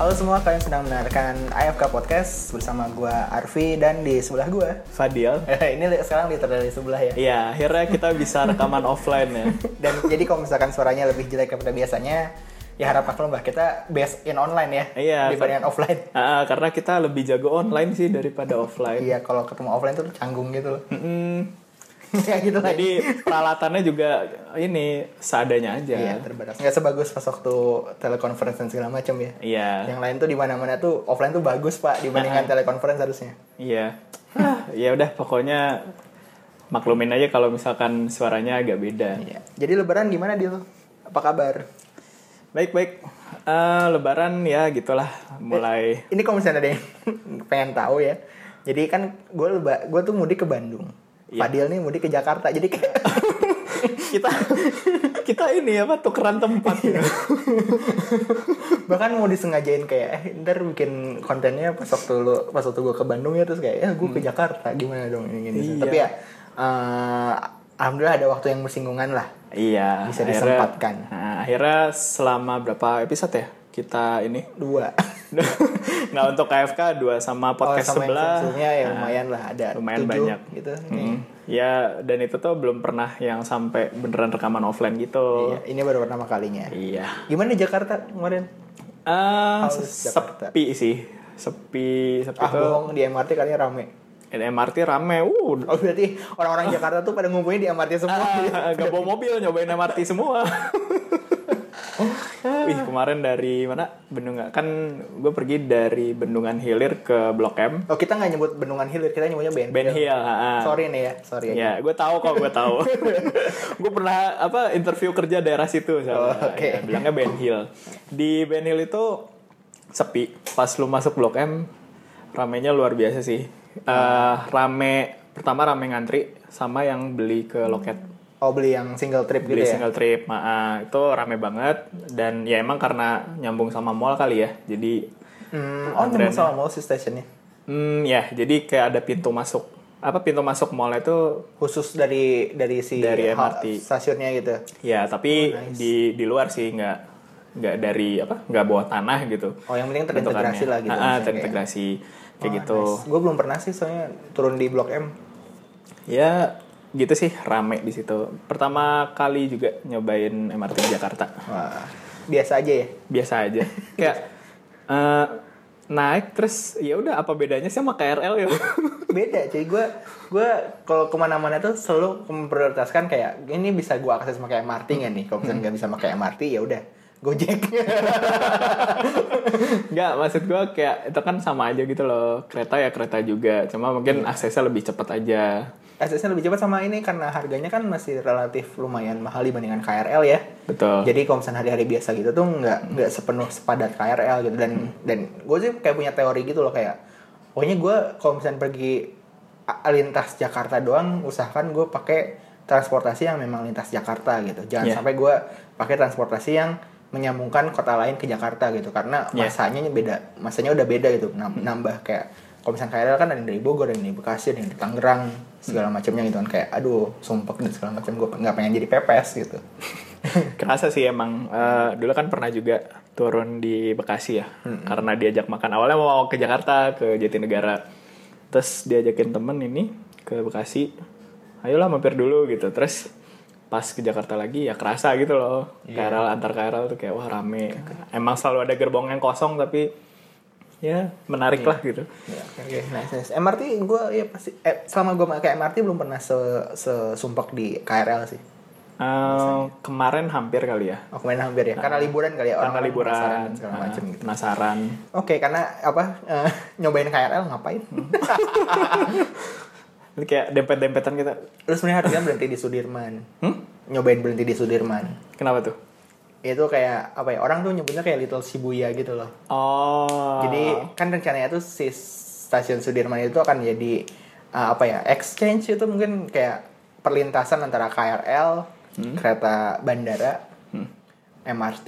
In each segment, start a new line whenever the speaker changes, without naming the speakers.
Halo semua, kalian sedang mendengarkan AFK Podcast bersama gua Arfi dan di sebelah gua.
Fadil.
Ini li- sekarang literally di sebelah ya.
Iya, akhirnya kita bisa rekaman offline ya.
Dan jadi kalau misalkan suaranya lebih jelek daripada biasanya, ya harap maklum lah kita based in online ya
Iya,
dibandingkan offline.
Ah, karena kita lebih jago online sih daripada offline.
Iya, kalau ketemu offline tuh canggung gitu loh.
Mm-mm.
ya gitu lah.
Jadi peralatannya juga ini seadanya
Iya,
aja.
terbatas. Nggak sebagus pas waktu telekonferensi dan segala macam ya.
Iya, Nah.
Yang lain tuh di mana-mana tuh offline tuh bagus pak dibandingkan telekonferensi harusnya.
iya. Ah, Ya udah, pokoknya maklumin aja kalau misalkan suaranya agak beda.
Iya. Jadi Lebaran gimana Dil? Apa kabar?
Baik baik. Eh, lebaran ya gitulah mulai.
Ini kalau misalnya ada yang pengen tahu ya. Jadi kan gue leba, gue tuh mudik ke Bandung.
Iya.
Fadil nih mudik ke Jakarta. Jadi kayak Eh.
kita kita ini apa tukeran tempat.
Iya.
ya.
bahkan mau disengajain kayak eh ntar bikin kontennya pas waktu lu pas waktu gue ke Bandung ya terus kayak ya gue ke Jakarta gimana dong ini gini.
Hmm. Iya.
Tapi ya eh, alhamdulillah ada waktu yang bersinggungan lah.
Iya.
Bisa
akhirnya-
disempatkan.
Nah, akhirnya selama berapa episode ya kita ini?
Dua.
nah untuk KFK dua sama
Oh,
podcast
sama yang
sebelah. Nah,
sebelumnya ya lumayan lah ada
lumayan
tujuh
banyak.
gitu.
Hmm. Ya dan itu tuh belum pernah yang sampai beneran rekaman offline gitu.
Iya, ini baru pertama kalinya.
Iya.
Gimana Jakarta kemarin?
Ah,
Haus Jakarta.
sepi sih. Sepi, sepi
Ah
tuh.
bohong di MRT kalinya rame.
Dan MRT rame. Uh,
Oh berarti orang-orang Jakarta tuh pada ngumpulin di MRT semua.
Ah, Gak bawa mobil nyobain MRT semua. Wih kemarin dari mana Bendungan kan gue pergi dari Bendungan Hilir ke Blok M
Oh kita nggak nyebut Bendungan Hilir, kita nyebutnya Ben.
ah. Ben Hill. ah, ah.
Sorry nih ya, sorry. ya.
Ya gue tahu kok gue tahu. gue pernah apa interview kerja daerah situ sama.
Oh, oke.
ya, bilangnya Ben Hill. Di Ben Hill itu sepi. Pas lu masuk Blok M ramenya luar biasa sih. Eh, rame pertama rame ngantri sama yang beli ke loket.
Oh beli yang single trip gitu
beli
ya?
single trip ma- ah, itu rame banget dan ya emang karena nyambung sama mall kali ya jadi
Hmm, oh nemu sama mall sih stationnya.
hmm ya jadi kayak ada pintu masuk apa pintu masuk mall itu
Khusus dari dari si
Dari
ha-
MRT.
stasiunnya gitu.
ya tapi
Oh,
di di luar sih nggak nggak dari apa nggak bawah tanah gitu
Oh yang penting terintegrasi lah gitu. Oh,
Ah, ah,
maksudnya kayak.
terintegrasi kayak gitu
Gue belum pernah sih soalnya turun di Blok M.
ya gitu sih rame di situ pertama kali juga nyobain MRT Jakarta
Wah, biasa aja ya.
biasa aja kayak eh, naik terus ya udah apa bedanya sih sama KRL ya
beda cuy gue gue kalau kemana-mana tuh selalu memprioritaskan kayak ini bisa gue akses pakai MRT nggak nih kalau misalnya nggak bisa pakai MRT ya udah gojek
nggak maksud gue kayak itu kan sama aja gitu loh kereta ya kereta juga cuma mungkin
Iya.
aksesnya lebih cepat aja
aksesnya lebih cepat sama ini karena harganya kan masih relatif lumayan mahal dibandingkan KRL ya
betul
jadi kalau misalnya hari-hari biasa gitu tuh nggak nggak sepenuh sepadat KRL gitu dan dan gue sih kayak punya teori gitu loh kayak pokoknya gue kalau misalnya pergi a- lintas Jakarta doang usahakan gue pakai transportasi yang memang lintas Jakarta gitu jangan
Yeah.
sampai gue pakai transportasi yang menyambungkan kota lain ke Jakarta gitu karena
Yeah.
masanya beda masanya udah beda gitu nam- nambah kayak kalau misalnya KRL kan ada yang dari Bogor ada yang dari Bekasi ada yang dari Tangerang segala macamnya gitu kan kayak aduh sumpek dan segala macam gue nggak pengen jadi pepes gitu
kerasa sih emang Eh, dulu kan pernah juga turun di Bekasi ya karena diajak makan awalnya mau ke Jakarta ke Jatinegara terus diajakin temen ini ke Bekasi ayolah mampir dulu gitu terus pas ke Jakarta lagi ya kerasa gitu loh
Iya.
KRL antar KRL tuh kayak wah rame emang selalu ada gerbong yang kosong tapi ya menarik lah gitu
Ya, Oke, nice, nice. MRT gue ya pasti eh, selama gue pakai MRT belum pernah se sesumpak di KRL sih.
Eh, kemarin hampir kali ya
Aku main hampir ya, karena liburan kali ya orang
karena liburan
penasaran dan segala
eh,
macam gitu.
penasaran
Oke, karena apa eh, nyobain KRL ngapain?
Hmm. Itu kayak dempet-dempetan kita
Terus sebenarnya harusnya berhenti di Sudirman.
Hmm?
Nyobain berhenti di Sudirman.
kenapa tuh
Itu kayak apa ya? Orang tuh nyebutnya kayak Little Shibuya gitu loh.
Oh.
Jadi kan rencananya tuh si stasiun Sudirman itu akan jadi uh, apa ya exchange itu mungkin kayak perlintasan antara KRL,
Hmm.
kereta bandara, MRT,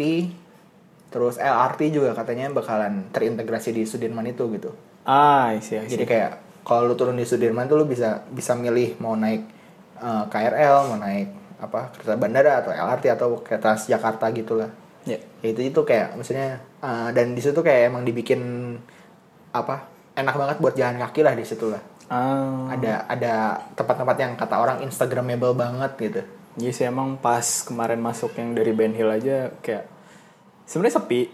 terus LRT juga katanya bakalan terintegrasi di Sudirman itu gitu.
ah, I see, I see.
Jadi kayak kalau lu turun di Sudirman tuh lu bisa bisa milih mau naik eh, uh, KRL, mau naik apa kereta bandara atau LRT atau kereta Jakarta gitu lah.
Iya.
Ya, itu itu kayak maksudnya eh, dan di situ kayak emang dibikin apa enak banget buat jalan kaki lah di situ lah
Ah,
ada ada tempat-tempat yang kata orang instagramable banget gitu
Iya sih emang pas kemarin masuk yang dari Ben Hill aja kayak sebenarnya sepi.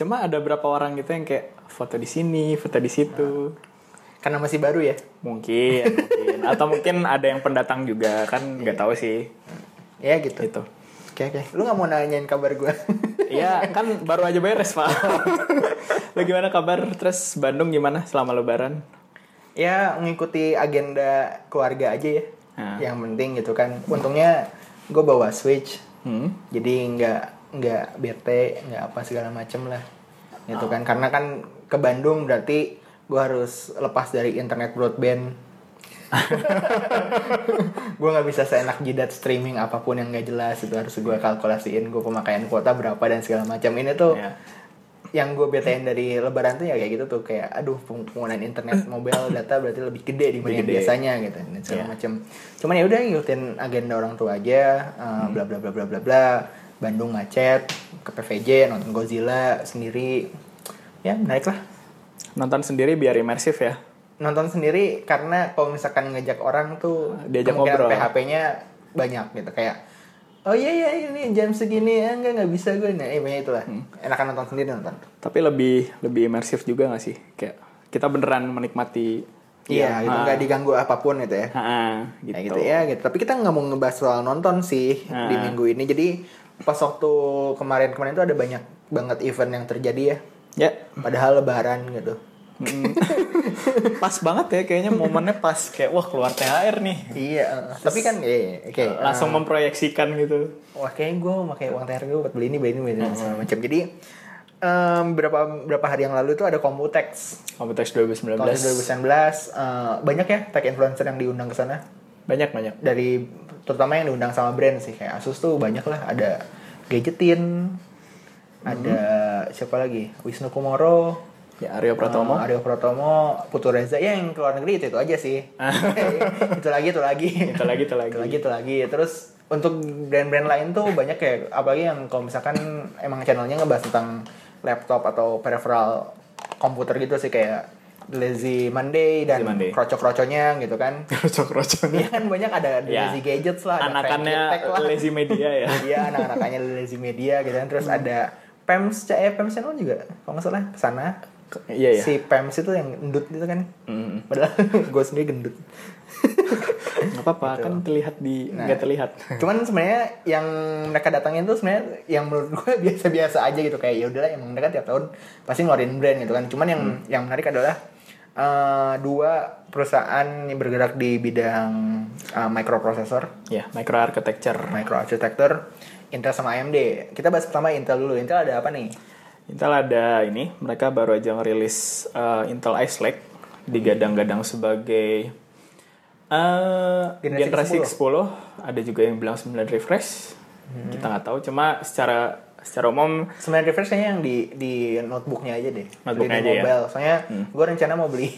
Cuma ada berapa orang gitu yang kayak foto di sini, foto di situ.
Nah. karena masih baru ya
Mungkin, mungkin. Atau mungkin ada yang pendatang juga kan nggak tahu sih
ya gitu
gitu.
oke oke lu nggak mau nanyain kabar gue
Iya kan baru aja beres pak. Lo gimana kabar? Terus Bandung gimana selama Lebaran?
ya mengikuti agenda keluarga aja ya
Ah.
yang penting gitu kan untungnya gue bawa switch
Hmm.
jadi nggak nggak bete nggak apa segala macem lah
Oh.
gitu kan karena kan ke Bandung berarti gue harus lepas dari internet broadband gue nggak bisa seenak jidat streaming apapun yang nggak jelas itu harus gue kalkulasiin gue pemakaian kuota berapa dan segala macam ini tuh
Ya.
yang gue betein dari lebaran tuh ya kayak gitu tuh kayak aduh peng- penggunaan internet mobile data berarti lebih gede dibanding yang
Gede.
biasanya gitu dan segala
Iya.
macam cuman ya udah ngikutin agenda orang tua aja eh,
Hmm.
bla bla bla bla bla bla Bandung ngacet ke PVJ nonton Godzilla sendiri ya menarik lah
Nonton sendiri biar imersif ya.
nonton sendiri karena kalau misalkan ngejak orang tuh
Diajak ngobrol.
PHP-nya banyak gitu kayak oh iya iya ini jam segini ya enggak nggak bisa gue nah iya itulah
Hmm.
enakan nonton sendiri nonton
Tapi lebih lebih imersif juga nggak sih? Kayak kita beneran menikmati.
Iya, itu nggak diganggu apapun gitu ya.
Ha, ha, gitu.
Nah, gitu Ah. ya gitu. Tapi kita nggak mau ngebahas soal nonton sih di minggu ini. Jadi pas waktu kemarin-kemarin itu ada banyak banget event yang terjadi ya.
Ya.
Padahal lebaran gitu.
Mm. pas banget ya kayaknya momennya pas kayak wah keluar THR nih.
Iya, tapi kan ya, ya, oke.
Langsung memproyeksikan gitu.
Wah, kayaknya gue pakai uang THR gue buat beli ini, beli ini, beli ini, segala macam. Jadi em, berapa berapa hari yang lalu itu ada Computex
Komputex
tahun
2019.
2019 eh, banyak ya tech influencer yang diundang ke sana.
Banyak banyak.
dari terutama yang diundang sama brand sih kayak Asus tuh banyak lah ada gadgetin
Hmm.
ada siapa lagi Wisnu Kumoro
Ya Aryo
eh,
Pratomo.
Aryo Pratomo Putu Reza ya yang ke luar negeri itu itu aja sih itu lagi itu lagi
Itu lagi, itu lagi.
itu lagi itu lagi terus untuk brand-brand lain tuh banyak ya apalagi yang kalau misalkan emang channelnya ngebahas tentang laptop atau peripheral komputer gitu sih kayak Lazy Monday dan
Lazy Monday.
kroco-kroconya gitu kan
Rocok-rocoknya.
Iya kan banyak ada ada
Ya.
lazy gadgets lah, ada
Anakannya
Tech lah.
lazy Hmm. media ya.
Iya, anak-anaknya lazy media gitu kan. Terus ada Pems, eh Pems Channel juga kalau nggak salah ke sana.
Iya ya.
Si Pems itu yang gendut itu kan.
Mm.
Padahal gue sendiri gendut.
Gak apa-apa kan terlihat di
Gitu. Nah.
nggak terlihat.
Cuman sebenarnya yang mereka datangin tuh sebenarnya yang menurut gue biasa-biasa aja gitu kayak ya udahlah emang mereka tiap tahun pasti ngeluarin brand gitu kan. Cuman yang
Hmm.
yang menarik adalah eh, dua perusahaan yang bergerak di bidang eh, microprocessor.
Ya, micro architecture.
microarchitecture Intel sama AMD. Kita bahas pertama Intel dulu. Intel ada apa nih?
Intel ada ini, mereka baru aja ngerilis eh, Intel Ice Lake digadang-gadang sebagai eh
Generasi
generasi 10. Ada juga yang bilang 9 refresh.
Hmm.
Kita nggak tahu, cuma secara secara umum
Sebenarnya refresh kayaknya yang di di notebooknya aja deh. Beli di
Notebooknya aja ya?
mobile. Soalnya gue rencana mau beli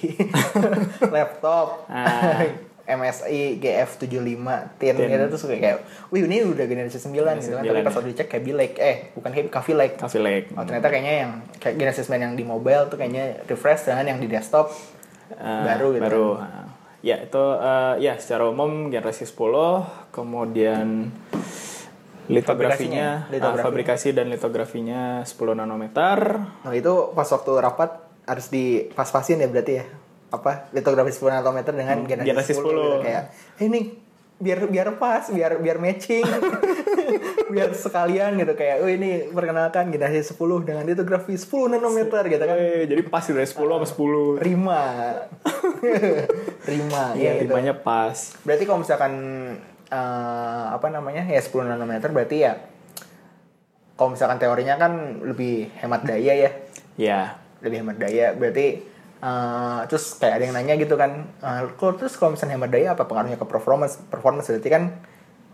laptop.
Ah.
MSI GF75 Tin gitu terus gue kayak wih ini udah generasi 9 gitu kan tapi
9
pas
ya.
waktu dicek kayak Lake eh bukan kayak Coffee Lake
Coffee Lake
oh ternyata kayaknya yang kayak generasi 9 yang di mobile tuh kayaknya refresh dan yang di desktop
eh,
baru gitu
Baru. ah. Ya, itu eh, ya secara umum generasi 10, kemudian
Fabrikasinya,
litografinya, ah,
litografi.
fabrikasi dan litografinya 10 nanometer.
Nah itu pas waktu rapat harus dipas-pasin ya berarti ya apa litografi 10 nanometer dengan generasi,
generasi
10, gitu.
10.
kayak ini biar biar pas biar biar matching biar sekalian gitu kayak oh ini perkenalkan generasi 10 dengan litografi 10 nanometer gitu kan
Eh, jadi pas dari 10 sama 10.
Rima Rima
Iya,
ya gitu.
rimanya pas.
berarti kalau misalkan eh, apa namanya ya 10 nanometer berarti ya kalau misalkan teorinya kan lebih hemat daya ya
Ya,
lebih hemat daya berarti eh, terus kayak ada yang nanya gitu kan eh, kok terus kalau misalnya hemat daya apa pengaruhnya ke performance performance berarti kan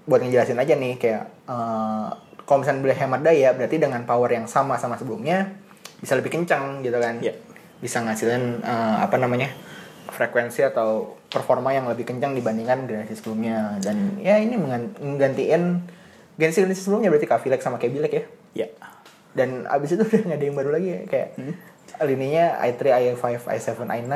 buat ngejelasin aja nih kayak eh, kalau misalnya beli hemat daya berarti dengan power yang sama sama sebelumnya bisa lebih kencang gitu kan
Iya.
bisa ngasilin eh, apa namanya frekuensi atau performa yang lebih kencang dibandingkan generasi sebelumnya dan ya ini menggan- menggantiin generasi generasi sebelumnya berarti kavilek sama kebilek ya
ya.
dan abis itu udah nggak ada yang baru lagi ya. kayak
Hmm.
lininya i3 i5 i7 i9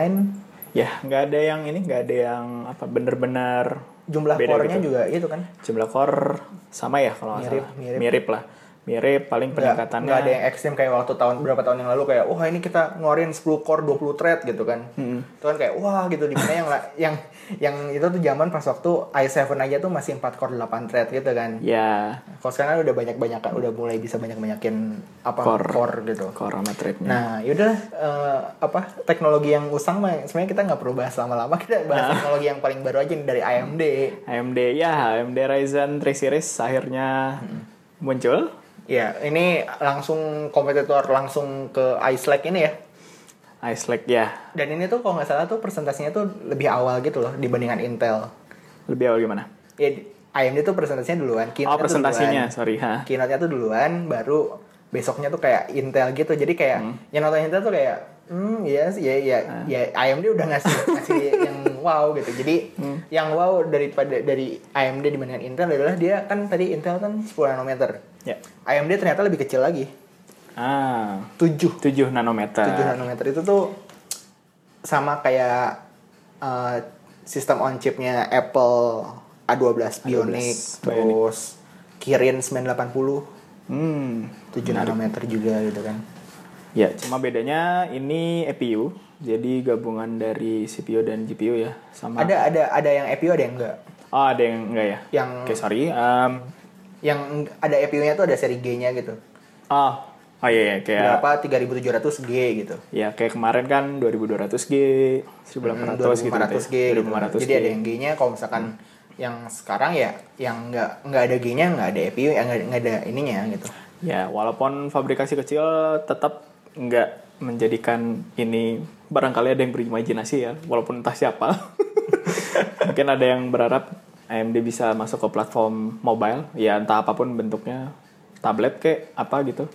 ya nggak ada yang ini nggak ada yang apa bener-bener
jumlah
Beda
core-nya
gitu.
juga itu kan
jumlah core sama ya kalau nggak
Mirip,
salah
mirip.
lah mirip paling
nggak
peningkatannya
nggak ada yang ekstrim kayak waktu tahun berapa tahun yang lalu kayak wah ini kita ngeluarin 10 core 20 thread gitu kan
Hmm.
itu kan kayak wah gitu dimana yang la- yang yang itu tuh zaman pas waktu i7 aja tuh masih 4 core 8 thread gitu kan
ya
kalau sekarang udah banyak banyakan udah mulai bisa banyak banyakin apa
Core.
core, gitu
core sama threadnya
nah yaudah eh, apa teknologi yang usang mah sebenarnya kita nggak perlu bahas lama-lama kita bahas teknologi yang paling baru aja nih dari AMD
AMD ya AMD Ryzen 3 series akhirnya
Hmm.
muncul
ya ini langsung kompetitor langsung ke Ice Lake ini ya
Ice Lake ya
Dan ini tuh kalau nggak salah tuh presentasinya tuh lebih awal gitu loh dibandingkan Intel.
lebih awal gimana
Ya AMD tuh presentasinya Iya, duluan.
oh
keynote-nya tuh
presentasinya
duluan.
sorry ha
Keynote-nya tuh duluan, baru besoknya tuh kayak Intel gitu. Jadi kayak yang nonton Intel tuh kayak hmm ya ya ya ya AMD udah ngasih ngasih yang wow gitu. Jadi yang wow daripada dari AMD dibandingkan Intel adalah dia kan tadi Intel kan 10 nanometer.
ya
AMD ternyata lebih kecil lagi.
ah
7
7 nanometer
7 nanometer itu tuh sama kayak uh, sistem on chipnya Apple A12 Bionic,
Bionic.
terus Kirin 980
hmm
7 nanometer juga gitu kan.
Ya, cuma bedanya ini EPU. Jadi gabungan dari CPU dan GPU ya, sama.
Ada ada ada yang EPU ada yang enggak.
Oh, ada yang enggak ya?
Yang
Oke, sorry. Um,
yang eng- ada EPU-nya tuh ada seri G-nya gitu.
oh, oh iya, iya, kayak
Berapa 3700G gitu.
ya kayak kemarin kan 2200G,
Hmm,
1800 gitu.
2500G gitu.
2500G.
Jadi ada yang G-nya kalau misalkan
Hmm.
yang sekarang ya yang enggak enggak ada G-nya, enggak ada EPU, yang enggak enggak ada ininya gitu.
Ya, walaupun fabrikasi kecil tetap enggak menjadikan ini barangkali ada yang berimajinasi ya, walaupun entah siapa. Mungkin ada yang berharap AMD bisa masuk ke platform mobile, ya entah apapun bentuknya, tablet kek apa gitu.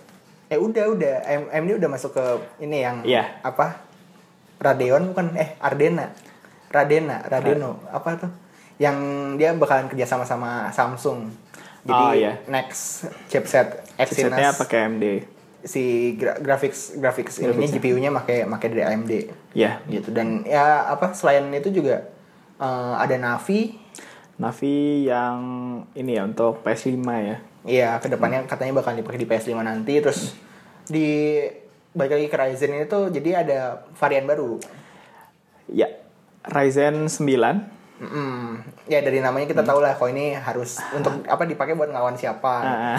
Eh udah udah AM- AMD udah masuk ke ini yang
Iya.
apa? Radeon bukan eh Ardena. Radena, Radeno, apa tuh? Yang dia bakalan kerja sama sama Samsung. Jadi
Oh, iya.
next chipset
Chipsetnya
Exynos
pakai AMD.
si gra- graphics graphics ini GPU-nya pakai pakai dari AMD
Ya,
gitu dan ya apa selain itu juga eh, ada Navi
Navi yang ini ya untuk PS5 ya.
Iya,
Hmm.
kedepannya katanya bakal dipakai di PS5 nanti. Terus di balik lagi ke Ryzen ini tuh jadi ada varian baru.
Ya, Ryzen 9
Mm-mm. Ya dari namanya kita tahu lah kalau ini harus untuk apa dipakai buat ngelawan siapa.
Ah.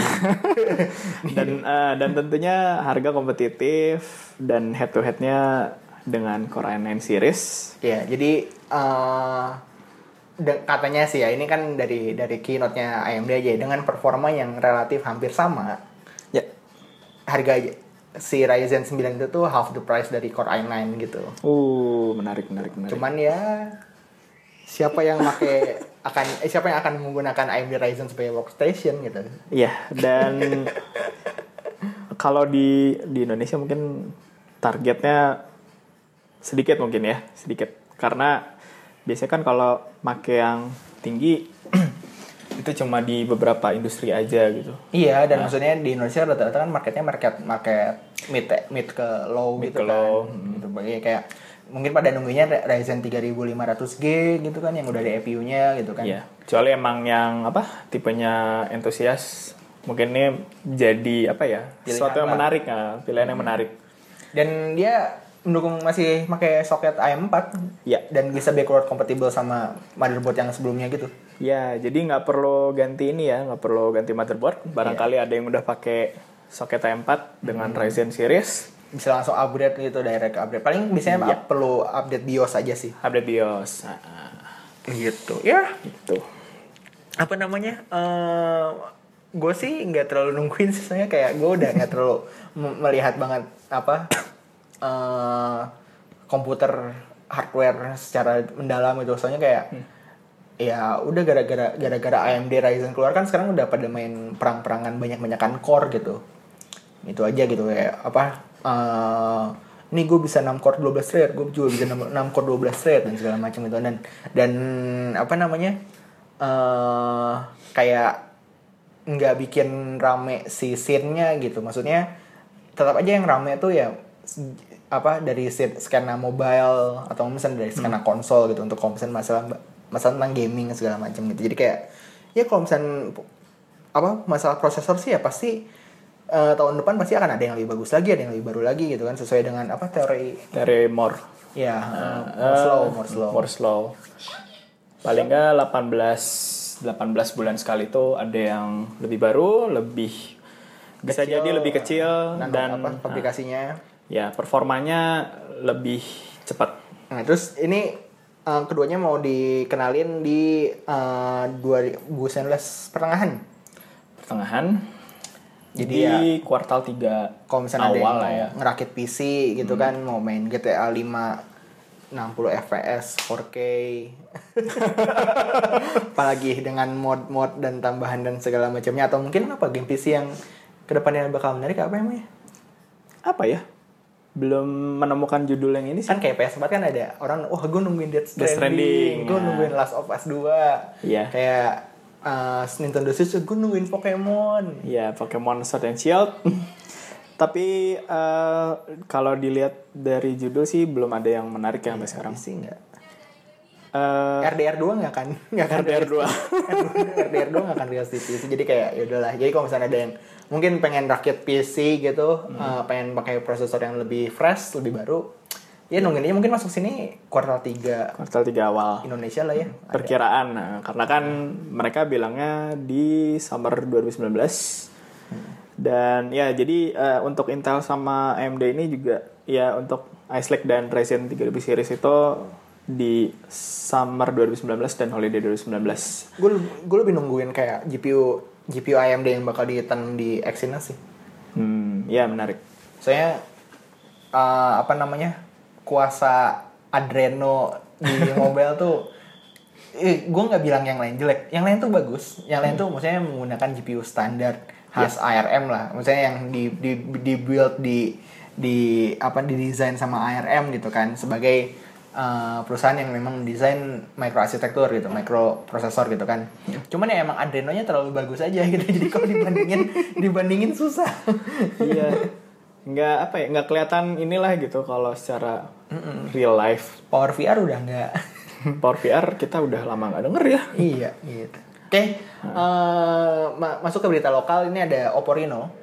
dan eh, dan tentunya harga kompetitif dan head to headnya dengan Core i9 series
Ya, jadi eh, de- katanya sih ya ini kan dari dari keynote-nya AMD aja ya, dengan performa yang relatif hampir sama.
ya
Harga si Ryzen 9 itu tuh half the price dari Core i9 gitu.
uh menarik menarik menarik
Cuman ya siapa yang pakai akan eh, siapa yang akan menggunakan AMD Ryzen sebagai workstation gitu.
Iya, dan kalau di di Indonesia mungkin targetnya sedikit mungkin ya, sedikit. Karena biasanya kan kalau make yang tinggi itu cuma di beberapa industri aja gitu.
Iya, dan maksudnya di Indonesia rata-rata kan marketnya market market mid mid ke low
Mid
gitu
ke
kan.
low, Hmm.
Gitu. Bagi kayak mungkin pada nunggunya Re- Ryzen 3500G gitu kan yang udah ada EPU-nya gitu kan.
Iya. Kecuali emang yang apa tipenya antusias mungkin ini jadi apa ya?
Pilihan
sesuatu
lah. Hmm.
yang menarik, ah, pilihan yang menarik.
Dan dia mendukung masih pakai soket AM4
Iya.
dan bisa backward compatible sama motherboard yang sebelumnya gitu.
Ya, jadi nggak perlu ganti ini ya, nggak perlu ganti motherboard. Barangkali
Iya.
ada yang udah pakai soket i4 dengan
Hmm.
Ryzen series,
Bisa langsung upgrade gitu direct upgrade. Paling biasanya
Iya.
up- perlu update BIOS aja sih.
update BIOS. Nah, nah,
Ah, gitu ya
gitu.
apa namanya eh gue sih nggak terlalu nungguin sih soalnya kayak gue udah nggak terlalu m- melihat banget apa eh komputer hardware secara mendalam itu soalnya kayak ya udah gara-gara gara-gara AMD Ryzen keluar kan sekarang udah pada main perang-perangan banyak-banyakan core gitu itu aja gitu kayak apa eh ini gue bisa 6 core 12 thread gue juga bisa 6, core 12 thread dan segala macam itu dan dan apa namanya eh kayak nggak bikin rame si scene-nya gitu maksudnya tetap aja yang rame tuh ya s- apa dari sit- skena mobile atau misalnya dari skena konsol gitu untuk kalau misalnya masalah masalah tentang gaming segala macam gitu jadi kayak ya kalau misalnya pu- apa masalah prosesor sih ya pasti eh, tahun depan pasti akan ada yang lebih bagus lagi ada yang lebih baru lagi gitu kan sesuai dengan apa teori
dari more
ya eh,
Eh,
more slow more slow
more slow paling nggak 18 18 bulan sekali tuh ada yang lebih baru lebih bisa
Kecil,
jadi lebih kecil
nah,
dan eh.
apa aplikasinya
ya performanya lebih cepat
Nah, terus ini eh, keduanya mau dikenalin di eh, 2019 pertengahan.
pertengahan
Jadi
jadi kuartal 3
Iya. Kalau misalnya ada yang
awal
mau
lah ya Hmm.
ngerakit PC gitu kan, mau main GTA 5 60 fps 4K. Apalagi dengan mod-mod dan tambahan dan segala macamnya atau mungkin apa game PC yang kedepannya bakal menarik apa ya? emangnya?
apa ya belum menemukan judul yang ini sih
Kan kayak PS4 kan ada orang, wah gue nungguin Death Stranding,
Death Stranding,
gue
ya.
nungguin Last of Us 2.
Iya.
Kayak eh, Nintendo Switch, gue nungguin Pokemon.
Ya, Pokemon Sword and Shield. Tapi eh, kalau dilihat dari judul sih belum ada yang menarik ya sampai sekarang.
sih nggak
Eh,
RDR 2 nggak kan nggak akan
RDR 2.
RDR 2 nggak akan rilis di PC jadi kayak ya udahlah jadi kalau misalnya ada yang mungkin pengen rakit PC gitu eh, pengen pakai prosesor yang lebih fresh lebih baru ya nungguin aja mungkin masuk sini kuartal 3
Kuartal 3 awal.
Indonesia lah ya
Perkiraan. nah, karena kan mereka bilangnya di summer 2019. Dan ya jadi eh, untuk Intel sama AMD ini juga ya untuk Ice Lake dan Ryzen 3000 series itu di summer 2019 dan holiday 2019.
gue gue lebih nungguin kayak GPU GPU AMD yang bakal ditanam di Exynos sih
Hmm, ya menarik.
soalnya eh, apa namanya kuasa adreno di mobile tuh eh, gue nggak bilang yang lain jelek yang lain tuh bagus yang lain tuh maksudnya menggunakan GPU standar khas ARM lah maksudnya yang di di, di build di di apa didesain sama ARM gitu kan sebagai eh, perusahaan yang memang desain microarsitektur gitu, microprosesor gitu kan. Cuman ya emang adrenonya terlalu bagus aja gitu. Jadi kalau dibandingin dibandingin susah.
iya nggak apa ya nggak kelihatan inilah gitu kalau secara real life
Power VR udah nggak.
Power VR kita udah lama nggak denger ya
iya, gitu. Oke, eh, ma- masuk ke berita lokal ini ada Oppo Reno.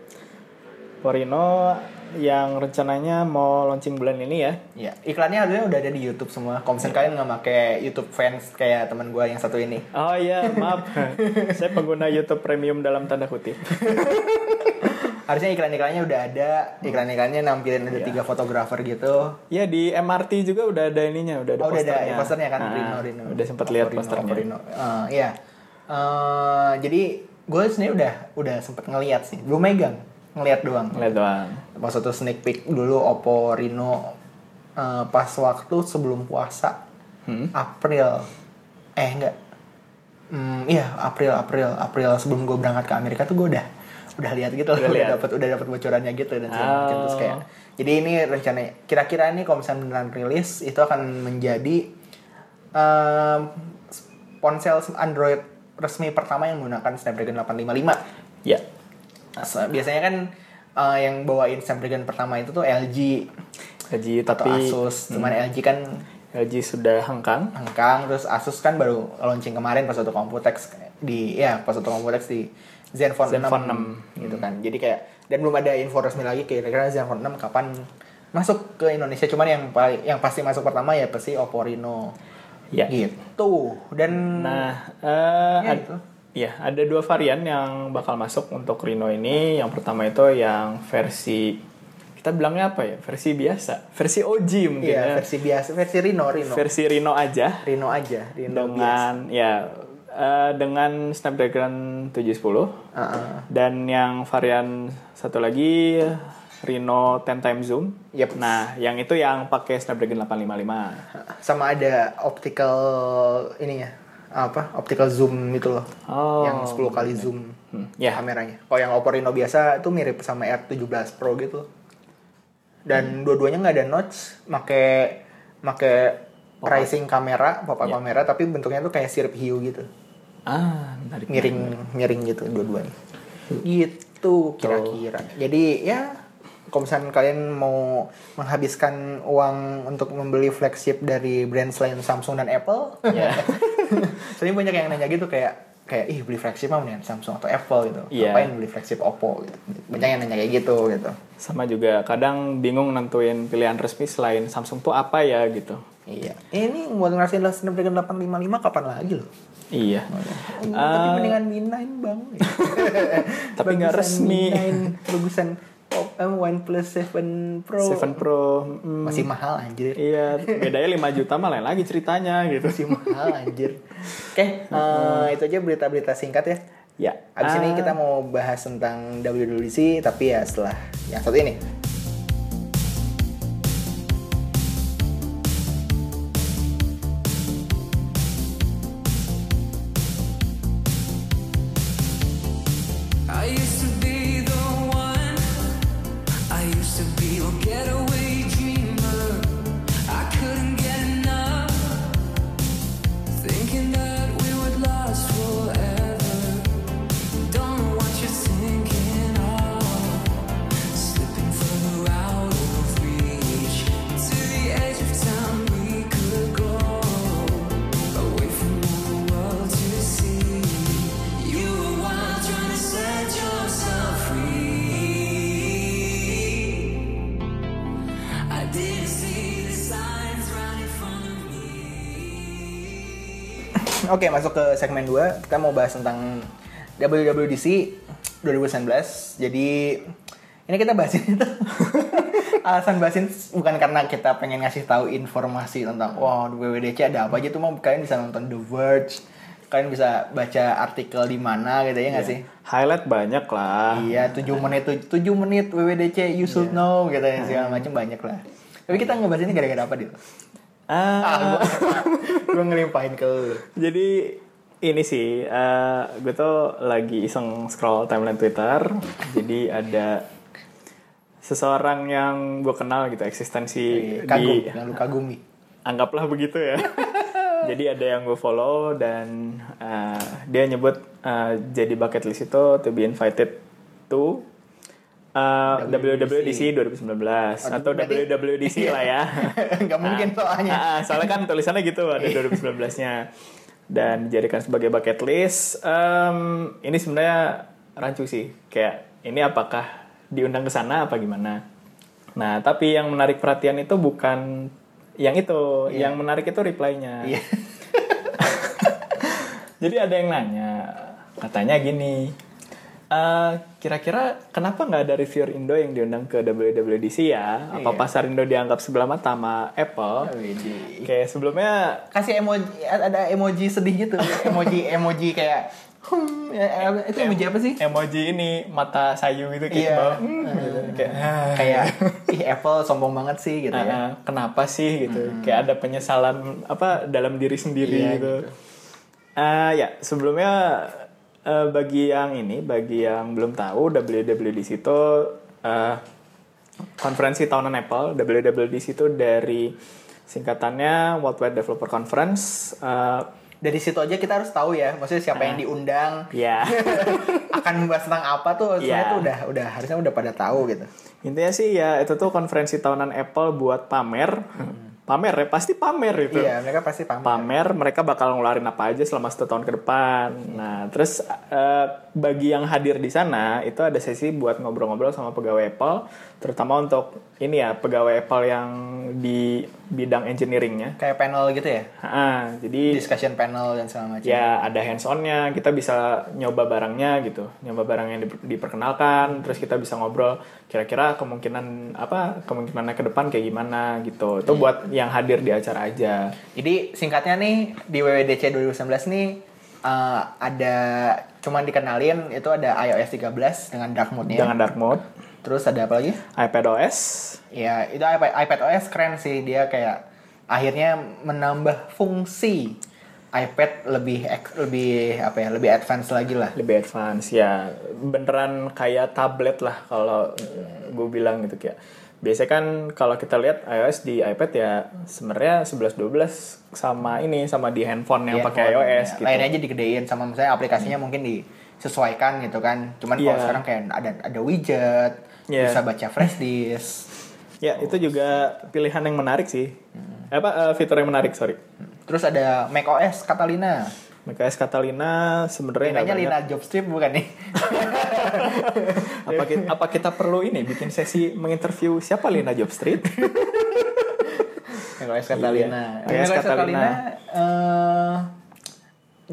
Porino yang rencananya mau launching bulan ini ya
Iya, iklannya harusnya udah ada di YouTube semua. Kalau misalnya kalian nggak pakai YouTube fans kayak teman gue yang satu ini.
oh iya maaf saya pengguna YouTube Premium dalam tanda kutip
Harusnya iklan-iklannya udah ada. Iklan-iklannya nampilin
Iya.
ada tiga fotografer gitu.
ya di MRT juga udah ada ininya udah ada
Oh, udah
posternya,
ada ya, posternya kan
Ah,
Reno Reno.
udah sempat lihat
Oppo Reno,
posternya
Oppo Reno. Eh, iya. Eh, jadi gue sebenarnya udah udah sempet ngeliat sih. Belum megang, ngeliat doang.
lihat doang
Maksud tuh sneak peek dulu Oppo Reno eh, pas waktu sebelum puasa
Hmm?
April eh enggak Hmm, iya April April April sebelum gue berangkat ke Amerika tuh gue udah udah lihat gitu udah,
lihat.
dapat udah dapat bocorannya gitu dan segala macam.
Oh.
terus kayak jadi ini rencananya kira-kira ini kalau misalnya beneran rilis itu akan menjadi em, ponsel Android resmi pertama yang menggunakan Snapdragon 855
ya
Asa- biasanya kan eh, yang bawain Snapdragon pertama itu tuh LG
LG
atau
tapi Hmm.
Asus cuman LG kan
LG sudah hengkang
hengkang terus Asus kan baru launching kemarin pas waktu Computex di ya pas waktu Computex di Zenfone,
Zenfone Hmm.
6, gitu kan jadi kayak dan belum ada info resmi lagi kira-kira Zenfone 6 kapan masuk ke Indonesia cuman yang paling yang pasti masuk pertama ya pasti Oppo Reno
ya
gitu dan
Nah, eh
Ya,
ad-
gitu.
ya, ada dua varian yang bakal masuk untuk Reno ini. Yang pertama itu yang versi kita bilangnya apa ya? Versi biasa, versi OG mungkin
iya,
ya.
versi
Versi,
biasa versi Reno Reno
Reno aja
Reno aja Reno biasa
dengan ya eh, dengan Snapdragon 710
Heeh.
dan yang varian satu lagi Reno 10 time zoom.
Yep.
Nah, yang itu yang pakai Snapdragon 855.
sama ada optical ininya apa optical zoom itu loh
Oh.
yang 10 kali zoom
Hmm, ya.
kameranya kalau yang Oppo Reno biasa itu mirip sama R17 Pro gitu
Hmm.
dan dua-duanya nggak ada notch make make rising kamera pop up
Ya.
kamera tapi bentuknya tuh kayak sirip hiu gitu
Ah, menarik.
miring miring gitu dua-duanya gitu kira-kira jadi ya kalau misalnya kalian mau menghabiskan uang untuk membeli flagship dari brand selain Samsung dan Apple,
Ya.
sering banyak yang nanya gitu kayak kayak ih beli flagship mah mendingan Samsung atau Apple gitu.
Iya.
Ngapain beli flagship Oppo gitu. Banyak yang nanya kayak gitu gitu.
Sama juga kadang bingung nentuin pilihan resmi selain Samsung tuh apa ya gitu.
Iya. Ini buat ngerasain lah Snapdragon 855 kapan lagi loh?
Iya.
Oh, Ini tapi mendingan Mi 9 bang.
Tapi nggak
Bagusan
resmi.
Mi 9, bagusan Op- eh, OnePlus 7 Pro.
7 Pro. mm,
Masih mahal anjir.
Iya, bedanya 5 juta mah lain lagi ceritanya gitu.
Masih mahal anjir. Oke, eh, itu aja berita-berita singkat ya.
Ya.
Abis ini
Ah,
kita mau bahas tentang WWDC tapi ya setelah yang satu ini.
I used to be the one. I used to be your getaway dreamer. I couldn't get enough. Thinking that we would last forever. Don't know what you're thinking of. Slipping further out of reach. To the edge of time we could go. Away from all the world to see. You were wild trying to set yourself free. I didn't see the signs right in front of me.
Oke, masuk ke segmen 2. Kita mau bahas tentang WWDC 2019. Jadi ini kita bahasin itu. Alasan bahasin bukan karena kita pengen ngasih tahu informasi tentang wow WWDC ada apa aja tuh mau kalian bisa nonton The Verge. Kalian bisa baca artikel di mana gitu ya nggak sih?
Iya highlight banyak lah.
Iya, 7 menit 7 menit WWDC you should know gitu ya segala macam banyak lah. Tapi kita ngebahas ini gara-gara apa, Dil? Ah,
Ah,
gue ngelimpahin ke lu.
Jadi ini sih, eh, gue tuh lagi iseng scroll timeline Twitter. jadi ada seseorang yang gue kenal gitu eksistensi
Iya, Kagum,
di
yang lu kagumi.
anggaplah begitu ya. jadi ada yang gue follow dan eh, dia nyebut eh, jadi bucket list itu to be invited to eh, WWDC 2019
Oh,
atau
berarti-
WWDC lah ya.
Gak mungkin soalnya. Iya.
Ah, ah, soalnya kan tulisannya gitu ada 2019-nya. Dan dijadikan sebagai bucket list. Em, ini sebenarnya rancu sih. Kayak ini apakah diundang ke sana apa gimana? Nah, tapi yang menarik perhatian itu bukan yang itu. Yang menarik itu reply-nya.
Iya.
Jadi ada yang nanya, katanya gini, "Eh, kira-kira kenapa nggak ada reviewer Indo yang diundang ke WWDC ya?
Iya.
Apa pasar Indo dianggap sebelah mata sama Apple?
Widih.
Oke, sebelumnya
Kasih emoji, ada emoji sedih gitu. Emoji, emoji kayak... Hmm, ya, ya, itu emoji apa sih?
emoji ini mata sayu gitu kayak
Iya.
ke bawah. Hmm, gitu. Kayak, "Ah,
Kayak, ih Apple sombong banget sih gitu
ah,
ya.
ah, kenapa sih gitu? Kayak ada penyesalan apa dalam diri sendiri
Hmm. Iya,
gitu.
gitu.
Ah, ya, sebelumnya eh, bagi yang ini, bagi yang belum tahu WWDC itu eh, konferensi tahunan Apple. WWDC itu dari singkatannya Worldwide Developer Conference. Eh,
Dari situ aja kita harus tahu ya, maksudnya siapa
Ah.
yang diundang,
ya.
akan membahas tentang apa tuh, sebenarnya
Iya.
tuh udah, udah harusnya udah pada tahu gitu.
Intinya sih ya itu tuh konferensi tahunan Apple buat pamer. Pamer ya, pasti pamer itu.
Iya, mereka pasti paham.
Pamer mereka bakal ngeluarin apa aja selama satu tahun ke depan. Nah, terus eh, bagi yang hadir di sana itu ada sesi buat ngobrol-ngobrol sama pegawai Apple, terutama untuk ini ya pegawai Apple yang di bidang engineeringnya.
Kayak panel gitu ya,
Ah, jadi
discussion panel dan segala macam.
ya ada hands onnya kita bisa nyoba barangnya gitu nyoba barang yang diper- diperkenalkan terus kita bisa ngobrol kira-kira kemungkinan apa kemungkinannya ke depan kayak gimana gitu
Iya.
itu buat yang hadir di acara aja
Jadi singkatnya nih di WWDC 2019 nih eh, ada cuman dikenalin itu ada iOS 13 dengan dark mode-nya.
jangan dark mode
Terus ada apa lagi?
iPadOS
Ya, itu iPad, iPadOS keren sih dia kayak akhirnya menambah fungsi iPad lebih ek- lebih apa ya, lebih advance lagi lah.
lebih advance ya beneran kayak tablet lah kalau gue bilang gitu kayak biasanya kan kalau kita lihat iOS di iPad ya sebenarnya 11 12 sama ini sama di handphone yang
Iya,
pakai
handphone,
iOS
ya.
gitu Hmm.
Lainnya aja digedein sama misalnya aplikasinya mungkin disesuaikan gitu kan. Cuman kalau
Iya.
sekarang kayak ada ada widget,
Iya.
bisa baca flash disk
Ya,
Oh,
itu juga pilihan yang menarik sih.
Hmm.
Apa eh, fitur yang menarik, sorry.
terus ada macOS Catalina
macOS Catalina sebenarnya nggak
Linanya
Iya, banyak.
Lina Jobstrip bukan nih
Apa kita, apa kita perlu ini bikin sesi menginterview siapa Lina Jobstreet?
macOS Catalina
Iya. macOS
macOS Catalina
Catalina,
eh,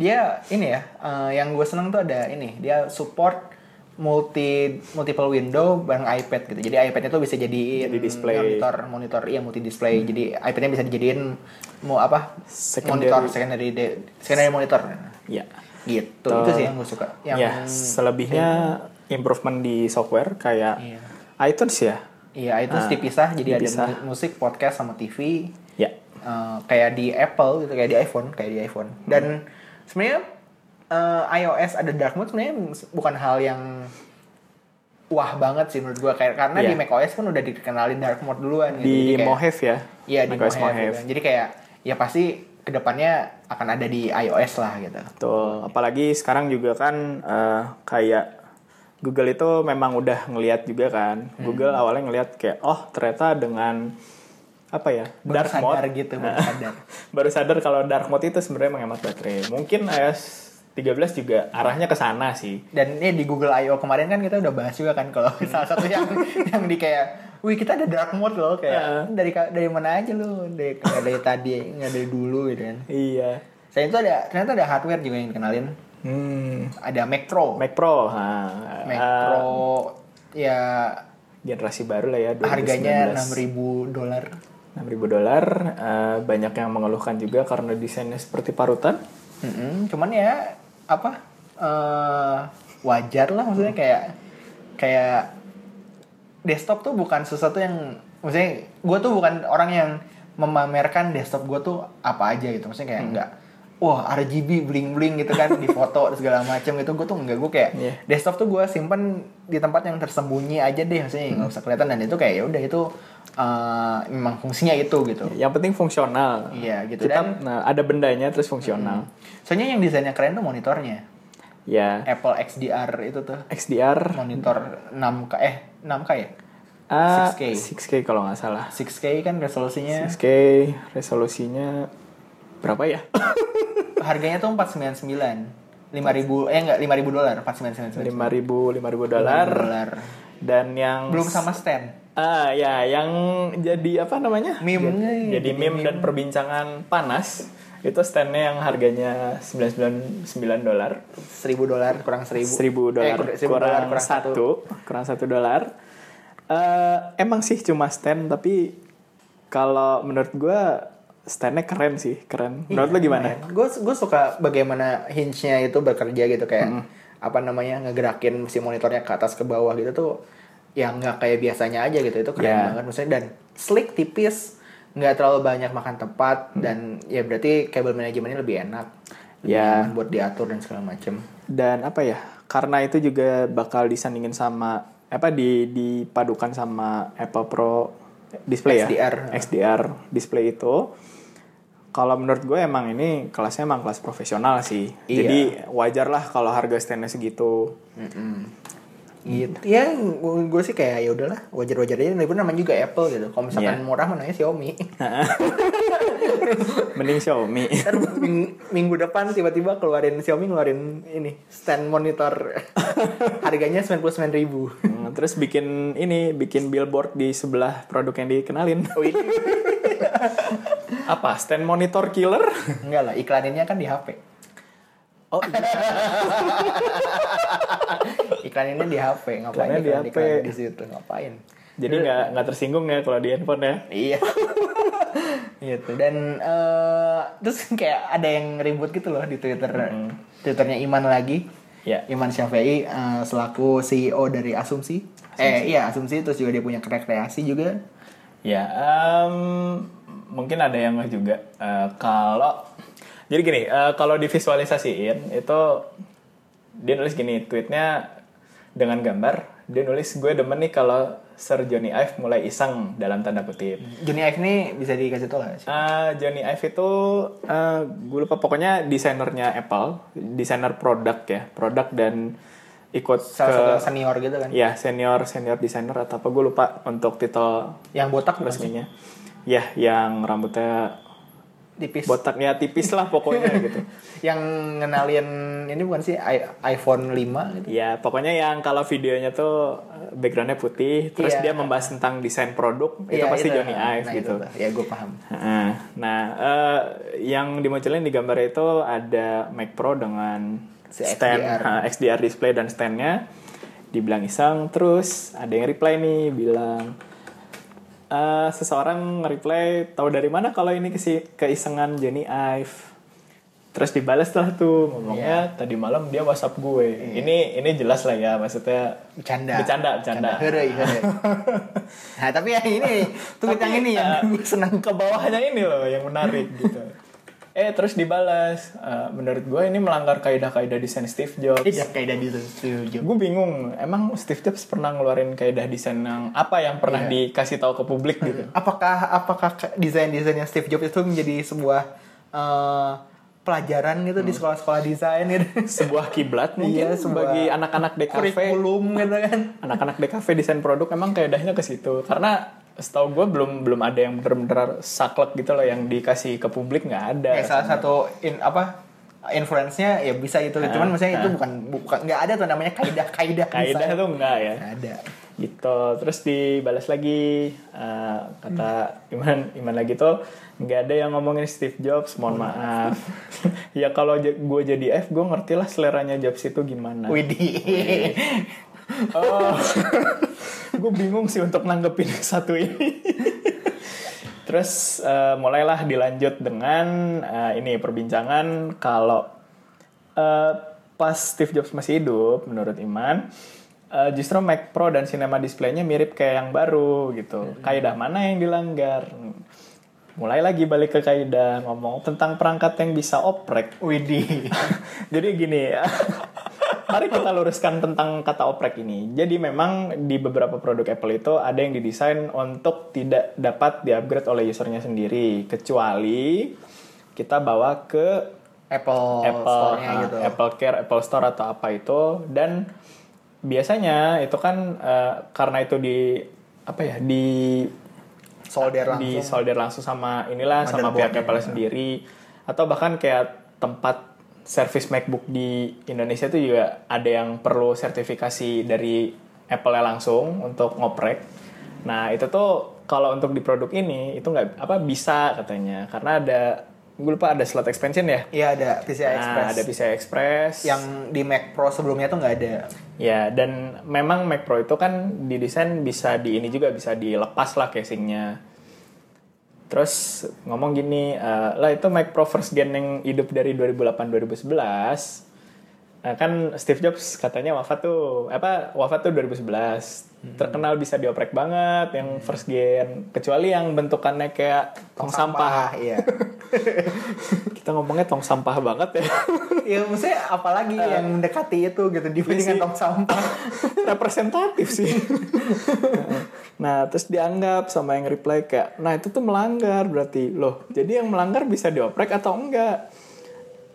dia ini ya eh, yang gue seneng tuh ada ini dia support multi multiple window bareng iPad gitu jadi iPad itu bisa jadi
Jadi display. Hmm.
monitor monitor iya multi display jadi iPadnya bisa dijadiin mau apa
Secondary.
monitor secondary de- secondary monitor
ya.
gitu
Tuh.
itu sih yang gue suka yang
ya, selebihnya improvement di software kayak
Iya.
iTunes ya.
iya itu
Ah,
dipisah jadi
dipisah.
ada mu- musik podcast sama TV
Ya.
Eh, kayak di Apple gitu kayak di iPhone kayak di iPhone
Hmm.
dan sebenarnya eh, iOS ada dark mode sebenarnya bukan hal yang wah banget sih menurut gue kayak karena di
Iya.
macOS kan udah dikenalin dark mode duluan gitu.
Di
Jadi kayak-
Mojave ya.
iya di
macOS
Mojave, gitu. jadi kayak ya pasti kedepannya akan ada di iOS lah gitu
Betul. Apalagi sekarang juga kan eh, kayak Google itu memang udah ngelihat juga kan.
Hmm.
Google awalnya ngelihat kayak oh ternyata dengan apa ya
baru
dark
sadar
mode
gitu baru sadar
baru sadar kalau dark mode itu sebenarnya menghemat baterai. Mungkin iOS 13 juga arahnya ke sana sih.
dan ini di Google I.O. kemarin kan kita udah bahas juga kan kalau salah satu yang yang di kayak wih kita ada dark mode loh kayak dari ka- dari mana aja lu dari nggak dari tadi nggak dari dulu gitu kan
Iya.
saya itu ada ternyata ada hardware juga yang dikenalin
Hmm.
ada Mac Pro
Mac Pro. ha.
Mac
Eh,
Pro ya
generasi baru lah ya 2019.
harganya 6000 dolar
6.000 dolar. Eh, banyak yang mengeluhkan juga karena desainnya seperti parutan.
Mm-mm, cuman ya apa eh, wajar lah maksudnya kayak kayak desktop tuh bukan sesuatu yang maksudnya gue tuh bukan orang yang memamerkan desktop gue tuh apa aja gitu maksudnya kayak enggak wah RGB bling bling gitu kan di foto segala macam gitu gue tuh enggak gue kayak
Iya.
desktop tuh gue simpen di tempat yang tersembunyi aja deh maksudnya nggak usah kelihatan dan itu kayak ya udah itu eh, memang fungsinya itu gitu
Yang penting fungsional.
Iya, gitu. Dan-
Tetap, nah, ada bendanya terus fungsional.
soalnya yang desainnya keren tuh monitornya
Ya.
Apple XDR itu tuh
XDR
monitor 6K eh 6K ya?
ah,
6K.
6K kalau nggak salah.
6K kan resolusinya
6K resolusinya berapa ya?
harganya tuh 499 5000 eh enggak 5000 dolar 499
5000 5000 dolar
dolar
dan yang
belum sama stand
Ah ya, yang jadi apa namanya?
Meme. Iya,
Jadi, jadi meme, dan perbincangan panas itu standnya yang harganya 99 dolar.
1000 dolar kurang 1000
1000 dolar
eh, 1000 dolar
kurang, satu, kurang satu dolar. Eh, emang sih cuma stand tapi kalau menurut gua standnya keren sih, Iya, keren. Menurut lo gimana?
gue gue suka bagaimana hinge-nya itu bekerja gitu kayak
Hmm.
apa namanya ngegerakin si monitornya ke atas ke bawah gitu tuh yang nggak kayak biasanya aja gitu itu keren
Ya.
banget maksudnya dan slick tipis nggak terlalu banyak makan tempat
Hmm.
dan ya berarti kabel manajemennya lebih enak Lebih
Ya.
nyaman buat diatur dan segala macem
dan apa ya karena itu juga bakal disandingin sama apa di dipadukan sama Apple Pro display
XDR.
ya XDR display itu kalau menurut gue emang ini kelasnya emang kelas profesional sih
Iya.
jadi wajar lah kalau harga standnya segitu
gitu ya gue sih kayak ya udahlah wajar wajar aja Lagipun namanya juga Apple gitu kalau misalkan
Iya.
murah mana Xiaomi
mending Xiaomi
Ntar ming- minggu depan tiba-tiba keluarin Xiaomi ngeluarin ini stand monitor harganya 99.000 ribu.
Hmm, terus bikin ini bikin billboard di sebelah produk yang dikenalin
Oh ini
apa stand monitor killer
enggak lah iklaninnya kan di HP.
oh iya.
Iklaninnya di HP ngapain
Iklannya di
iklan,
HP.
iklan di situ ngapain?
jadi nggak nggak tersinggung ya kalau di handphone ya
Iya.
Iya.
gitu dan eh, terus kayak ada yang ribut gitu loh di Twitter. Twitternya Iman lagi.
Ya.
Iman Syafiei eh, selaku CEO dari Asumsi. Eh iya Asumsi terus juga dia punya rekreasi juga.
Ya, em, mungkin ada yang nggak juga. Eh, kalau jadi gini, eh, kalau divisualisasiin itu dia nulis gini tweetnya dengan gambar. Dia nulis gue demen nih kalau Sir Johnny Ive mulai iseng dalam tanda kutip.
Johnny Ive ini bisa dikasih tau gak sih?
Eh, Johnny Ive itu eh gue lupa pokoknya desainernya Apple, desainer produk ya, produk dan ikut
salah
ke
satu yang senior gitu kan
ya senior senior desainer atau apa gue lupa untuk titel
yang botak bukan sih?
resminya ya yang rambutnya
tipis
botaknya tipis lah pokoknya gitu
yang ngenalin ini bukan sih i- iPhone 5 gitu
ya pokoknya yang kalau videonya tuh eh, backgroundnya putih terus
Iya.
dia membahas tentang desain produk itu
Iya,
pasti Johnny Ive
Nah,
gitu
itu tuh. ya gue paham
Heeh. Nah, eh, yang dimunculin di gambar itu ada Mac Pro dengan
Si
stand eh,
XDR.
ha, XDR display dan standnya. Dibilang iseng, terus ada yang reply nih bilang eh seseorang reply tahu dari mana kalau ini kesi keisengan Jenny Ive. Terus dibales lah tuh ngomongnya tadi malam dia WhatsApp gue. Ini ini jelas lah ya maksudnya
bercanda
Bercanda, bercanda.
Heroi, heroi. nah tapi yang ini tuh yang ini yang
eh,
gue seneng
ke bawahnya ini loh yang menarik gitu. Eh terus dibalas, "Eh, menurut gue ini melanggar kaidah-kaidah desain Steve Jobs.
tidak kayak dari studio
Gue bingung, emang Steve Jobs pernah ngeluarin kaidah desain yang apa yang pernah dikasih tahu ke publik gitu?
apakah apakah ke- desain-desainnya Steve Jobs itu menjadi sebuah eh, pelajaran gitu
Hmm.
di sekolah-sekolah desain gitu
Sebuah kiblat
Iya,
mungkin
sebuah
bagi anak-anak DKV,
kurikulum gitu kan
anak-anak DKV desain produk emang kaidahnya ke situ. Karena setahu gue belum belum ada yang bener-bener saklek gitu loh yang dikasih ke publik nggak ada.
kayak salah satu in apa influence-nya ya bisa gitu
Ah,
cuman maksudnya itu bukan bukan nggak ada tuh namanya kaidah kaidah
Kaidah tuh nggak ya.
nggak ada
gitu terus dibalas lagi eh, kata Iman Iman lagi tuh nggak ada yang ngomongin Steve Jobs mohon maaf ya kalau gue jadi F gue ngerti lah seleranya Jobs itu gimana
Widih
oh gue bingung sih untuk nanggepin yang satu ini terus eh, mulailah dilanjut dengan eh, ini perbincangan kalau eh, pas Steve Jobs masih hidup menurut Iman eh, justru Mac Pro dan Cinema Display-nya mirip kayak yang baru gitu kaidah mana yang dilanggar mulai lagi balik ke kaidah ngomong tentang perangkat yang bisa oprek
Widih
jadi gini ya. Mari kita luruskan tentang kata oprek ini. Jadi memang di beberapa produk Apple itu ada yang didesain untuk tidak dapat di-upgrade oleh usernya sendiri. Kecuali kita bawa ke
Apple,
Apple,
Oh, Store-nya
ah,
gitu
Apple Care, Apple Store atau apa itu. Dan biasanya itu kan eh, karena itu di apa ya di
solder langsung gitu.
di solder langsung sama inilah sama pihak
Motherboardnya.
Apple sendiri atau bahkan kayak tempat service MacBook di Indonesia itu juga ada yang perlu sertifikasi dari Apple langsung untuk ngoprek. Nah itu tuh kalau untuk di produk ini itu nggak apa bisa katanya karena ada gue lupa ada slot expansion ya.
Iya ada PCI Express
Nah, ada PCI Express
yang di Mac Pro sebelumnya tuh nggak ada
Ya, dan memang Mac Pro itu kan didesain bisa di ini juga bisa dilepas lah casingnya. Terus ngomong gini, eh, lah itu Mac Pro first gen yang hidup dari 2008-2011. Eh, kan Steve Jobs katanya wafat tuh apa wafat tuh 2011 terkenal bisa dioprek banget yang first gen kecuali yang bentukannya kayak tong sampah
iya
kita ngomongnya tong sampah banget ya
ya maksudnya apalagi yang mendekati itu gitu dibandingkan
Ah. Iya sih.
tong sampah
representatif sih. nah, terus dianggap sama yang reply kayak, nah itu tuh melanggar berarti. Loh, jadi yang melanggar bisa dioprek atau enggak?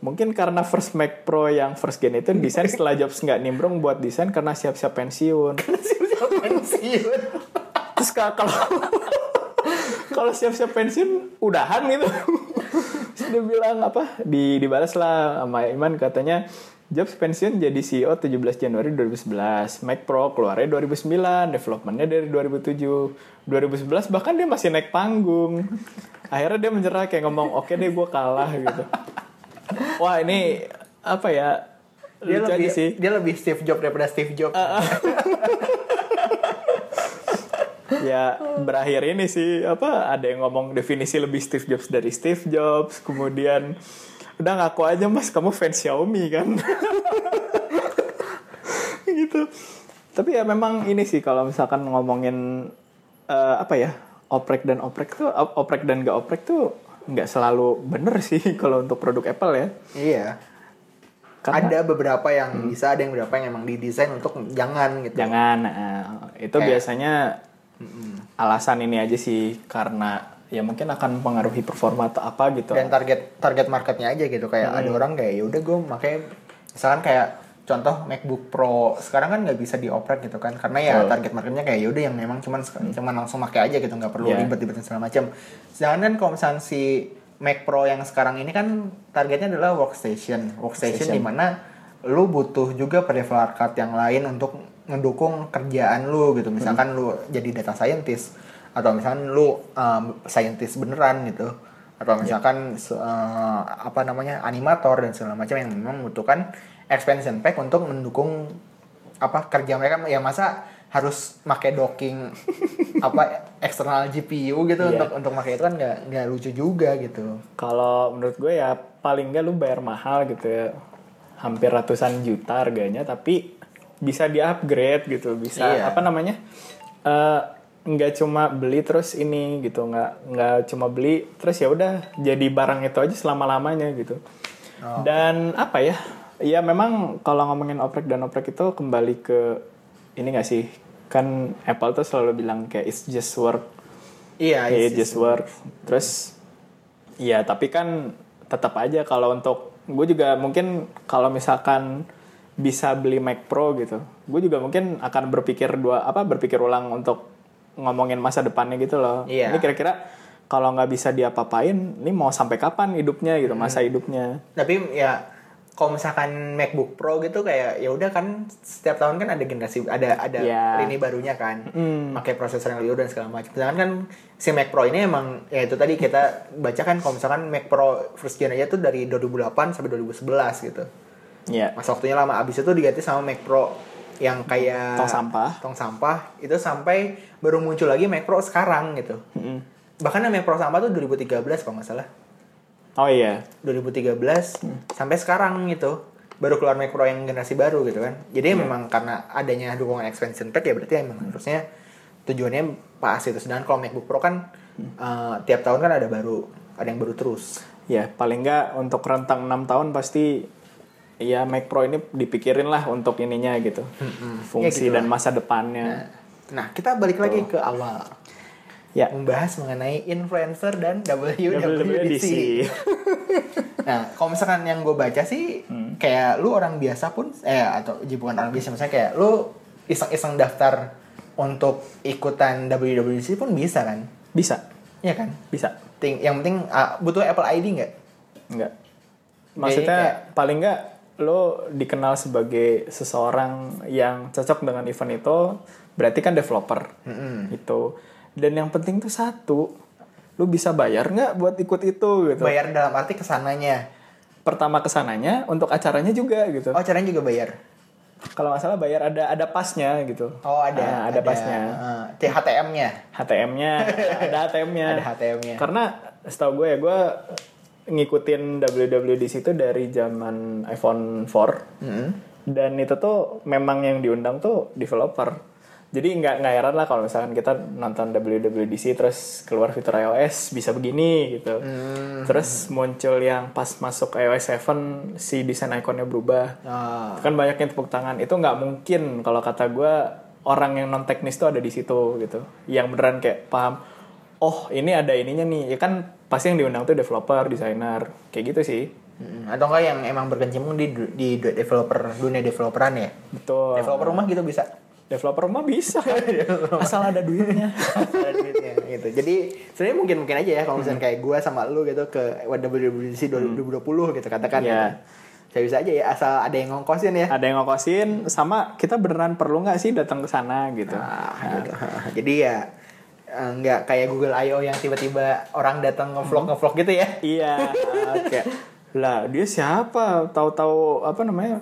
Mungkin karena first Mac Pro yang first gen itu desain setelah Jobs nggak nimbrung buat desain karena siap-siap pensiun.
siap-siap
Iya
pensiun
Terus ka- kalau kalau siap-siap pensiun udahan gitu. Terus dia bilang apa? Di dibalas lah sama Iman katanya Jobs pensiun jadi E CEO 17 Januari 2011. Mac Pro keluarnya 2009, developmentnya dari 2007. 2011 bahkan dia masih naik panggung. Akhirnya dia menyerah kayak ngomong, "Oke deh, gue kalah." gitu. Wah, ini apa ya?
dia
Lucu aja
lebih
sih. Ah,
dia lebih Steve Jobs daripada Steve Jobs
ya berakhir ini sih apa ada yang ngomong definisi lebih Steve Jobs dari Steve Jobs kemudian udah ngaku aja mas kamu fans Xiaomi kan gitu tapi ya memang ini sih kalau misalkan ngomongin eh, apa ya oprek dan oprek tuh op- oprek dan gak oprek tuh nggak selalu bener sih kalau untuk produk Apple ya
iya ada
Karena- Hmm.
beberapa yang bisa ada yang beberapa yang emang didesain untuk jangan gitu
jangan eh, itu
Kayak-
biasanya alasan ini aja sih karena ya mungkin akan mempengaruhi performa atau apa gitu Hmm.
dan target target marketnya aja gitu kayak ada orang kayak ya udah gue makanya misalkan kayak contoh MacBook Pro sekarang kan nggak bisa dioprek gitu kan karena ya
Betul. Hmm.
target marketnya kayak yaudah yang memang cuman cuman langsung pakai aja gitu nggak perlu
Iya.
ribet-ribet dan segala macam. Sedangkan kan kalau misalnya si Mac Pro yang sekarang ini kan targetnya adalah workstation, workstation,
Workstation.
di mana lu butuh juga peripheral card yang lain untuk mendukung kerjaan lu
Mm-hmm.
gitu. Misalkan lu jadi data scientist atau misalkan lu um, scientist beneran gitu atau
Iya.
misalkan se- eh, apa namanya animator dan segala macam yang memang membutuhkan expansion pack untuk mendukung apa kerja mereka ya masa harus pakai docking apa eksternal GPU gitu
Iya.
untuk untuk pakai itu kan nggak nggak lucu juga gitu
Kalau menurut gue ya paling nggak lu bayar mahal gitu ya. Hampir ratusan juta harganya tapi bisa di-upgrade gitu, bisa
Iya.
apa namanya? eh, nggak cuma beli terus ini gitu, nggak nggak cuma beli terus ya udah jadi barang itu aja selama-lamanya gitu. Dan apa ya? Ya memang kalau ngomongin oprek dan oprek itu kembali ke ini nggak sih? Kan Apple tuh selalu bilang kayak it's just work
iya
Iya,
it's-
just work. Terus, ya tapi kan tetap aja kalau untuk gue juga mungkin kalau misalkan bisa beli Mac Pro gitu, gue juga mungkin akan berpikir dua apa berpikir ulang untuk ngomongin masa depannya gitu loh.
Iya.
Ini kira-kira kalau nggak bisa diapa-apain, ini mau sampai kapan hidupnya gitu,
Hmm.
masa hidupnya?
tapi ya kalau misalkan MacBook Pro gitu kayak ya udah kan setiap tahun kan ada generasi ada ada
Iya. Hmm.
lini barunya kan pakai prosesor yang lebih baru dan segala macam. Sedangkan kan si Mac Pro ini emang ya itu tadi kita baca kan kalau misalkan Mac Pro first gen aja tuh dari 2008 sampai 2011 gitu.
Ya.
Mas waktunya lama abis itu diganti sama Mac Pro yang kayak
Tong sampah.
tong sampah itu sampai baru muncul lagi Mac Pro sekarang gitu.
Mm-mm.
Bahkan yang Mac Pro sampah tuh 2013 kalau nggak salah.
Oh iya.
2013
Hmm.
sampai sekarang gitu baru keluar Mac Pro yang generasi baru gitu kan jadi
Iya.
memang karena adanya dukungan expansion pack ya berarti emang
Hmm.
harusnya tujuannya pas itu sedangkan kalau MacBook Pro kan
Hmm.
eh, tiap tahun kan ada baru ada yang baru terus
Ya, paling nggak untuk rentang 6 tahun pasti ya Mac Pro ini dipikirin lah untuk ininya gitu.
Ya,
Fungsi
gitu
dan masa depannya.
nah kita balik lagi ke awal
Ya.
membahas mengenai influencer dan
WWDC.
WWDC Nah, kalau misalkan yang gue baca sih,
Hmm.
kayak lu orang biasa pun, eh atau jadi bukan orang biasa, misalnya kayak lu iseng-iseng daftar untuk ikutan WWDC pun bisa kan?
Bisa,
Iya kan?
bisa.
Ting- yang penting ah, butuh Apple ID nggak?
Enggak. Maksudnya
kayak-
paling enggak lo dikenal sebagai seseorang yang cocok dengan event itu berarti kan developer itu dan yang penting tuh satu lo bisa bayar nggak buat ikut itu gitu
Bayar dalam arti kesananya.
pertama kesananya untuk acaranya juga gitu
Oh, caranya juga bayar.
kalau nggak salah bayar ada ada pasnya gitu
Oh, ada.
Ah, ada, pasnya
THTM-nya.
HTM-nya ada HTM-nya
Ada HTM-nya.
karena setahu gue ya gue ngikutin WWDC itu dari zaman iPhone 4
Hmm.
dan itu tuh memang yang diundang tuh developer jadi nggak nggak heran lah kalau misalkan kita nonton WWDC terus keluar fitur iOS bisa begini gitu
Hmm.
terus muncul yang pas masuk iOS 7 si desain ikonnya berubah
Ah.
kan banyak yang tepuk tangan itu nggak mungkin kalau kata gue orang yang non teknis tuh ada di situ gitu yang beneran kayak paham oh ini ada ininya nih ya kan pasti yang diundang tuh developer desainer kayak gitu sih
Mm-mm. Hmm, Atau enggak yang emang berkecimpung di du- di developer dunia developeran ya?
betul
Developer rumah gitu bisa.
developer mah bisa
Iya.
asal ada duitnya
Ada duitnya, gitu. Jadi sebenarnya mungkin mungkin aja ya kalau misalnya kayak gue sama lu gitu ke WWDC 2020 gitu katakan.
Iya.
Gitu. Saya bisa aja ya asal ada yang ngongkosin ya.
ada yang ngokosin sama kita beneran perlu nggak sih datang ke sana gitu
Ah, gitu. Jadi ya eh, nggak kayak Google I.O. yang tiba-tiba orang datang ngevlog ngevlog gitu ya.
Iya, kayak lah dia siapa? Tahu-tahu apa namanya?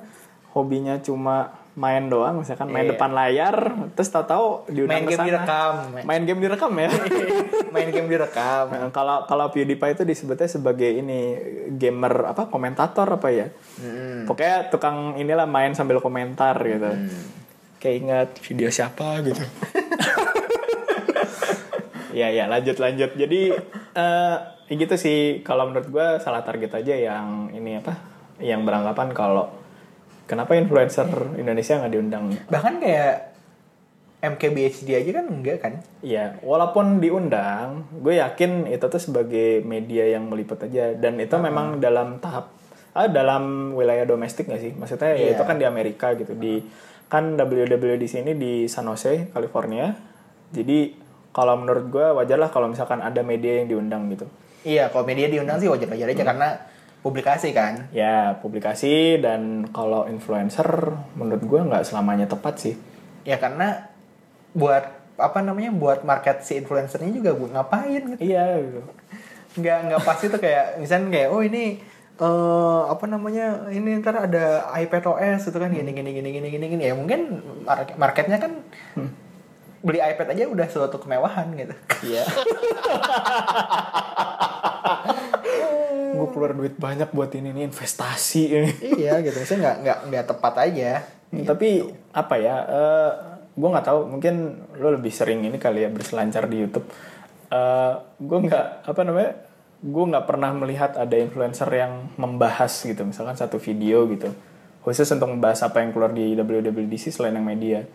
Hobinya cuma main doang, misalkan main
Iya.
depan layar, terus tahu-tahu
Main
diundang ke
game
sana.
direkam.
Main game direkam ya.
Main game direkam.
Nah, Kalau kalau PewDiePie itu disebutnya sebagai ini gamer apa komentator apa ya? Pokoknya tukang inilah main sambil komentar gitu. Kayak ingat video siapa gitu. ya ya lanjut lanjut. Jadi eh ya gitu sih kalau menurut gue salah target aja yang ini apa? Yang beranggapan kalau kenapa influencer Indonesia nggak diundang?
Bahkan kayak MKBHD aja kan enggak kan?
Iya, walaupun diundang, gue yakin itu tuh sebagai media yang meliput aja dan itu memang dalam tahap ah dalam wilayah domestik nggak sih maksudnya ya
Iya.
itu kan di Amerika gitu di kan WW di sini di San Jose California jadi kalau menurut gue wajar lah kalau misalkan ada media yang diundang gitu
Iya, kalau media diundang sih wajar-wajar aja karena publikasi kan.
ya publikasi dan kalau influencer menurut gue nggak selamanya tepat sih
Ya karena buat apa namanya buat market si influencernya juga bu- ngapain gitu.
iya gitu.
nggak nggak pasti tuh kayak misalnya kayak oh ini eh apa namanya ini ntar ada iPad OS gitu kan gini gini gini gini gini gini ya mungkin mar- marketnya kan beli iPad aja udah suatu kemewahan gitu
Iya. gue keluar duit banyak buat ini nih investasi ini.
iya gitu misalnya nggak nggak nggak tepat aja
Tapi apa ya? eh gue nggak tahu. Mungkin lo lebih sering ini kali ya berselancar di YouTube. Eh gue nggak apa namanya? Gue nggak pernah melihat ada influencer yang membahas gitu. Misalkan satu video gitu. Khusus untuk membahas apa yang keluar di WWDC selain yang media.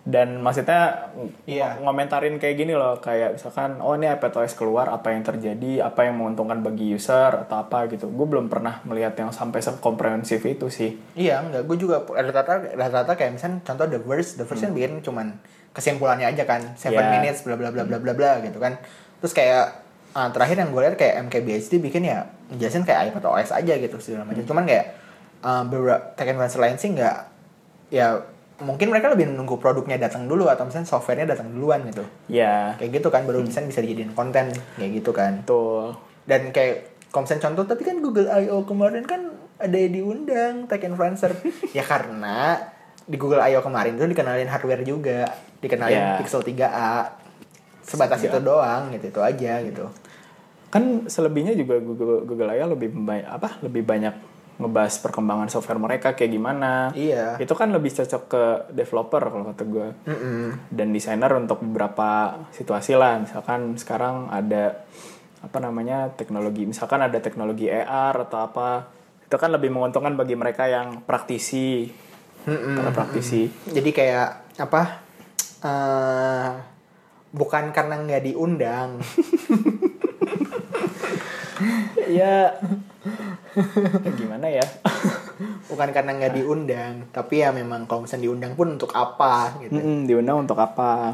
Dan maksudnya
Iya.
ngomentarin kayak gini loh kayak misalkan oh ini iPadOS keluar apa yang terjadi apa yang menguntungkan bagi user atau apa gitu gue belum pernah melihat yang sampai sekomprehensif itu sih
iya nggak gue juga rata-rata rata-rata kayak misalnya contoh the verse the verse kan bikin cuman kesimpulannya aja kan seven
Iya.
minutes bla bla bla bla bla bla gitu kan terus kayak ah, terakhir yang gue lihat kayak MKBHD bikin ya jelasin kayak iPad OS aja gitu segala macam cuman kayak ah, beberapa tech influencer lain sih nggak ya mungkin mereka lebih menunggu produknya datang dulu atau misalnya softwarenya datang duluan gitu
ya
kayak gitu kan baru misalnya bisa dijadiin konten kayak gitu kan
betul
dan kayak komsen contoh tapi kan Google I.O. kemarin kan ada yang diundang tech influencer ya karena di Google I.O. kemarin itu dikenalin hardware juga
Ya.
dikenalin Pixel 3a sebatas itu doang gitu itu aja gitu
kan selebihnya juga Google Google AI lebih memba- apa lebih banyak ngebahas perkembangan software mereka kayak gimana
Iya.
itu kan lebih cocok ke developer kalau kata gue dan desainer untuk beberapa situasi lah misalkan sekarang ada apa namanya teknologi misalkan ada teknologi AR atau apa itu kan lebih menguntungkan bagi mereka yang praktisi para praktisi
jadi kayak apa eh bukan karena nggak diundang
ya gimana ya
bukan karena nggak diundang tapi ya memang kalau misalnya diundang pun untuk apa gitu
Mm-mm, diundang untuk apa?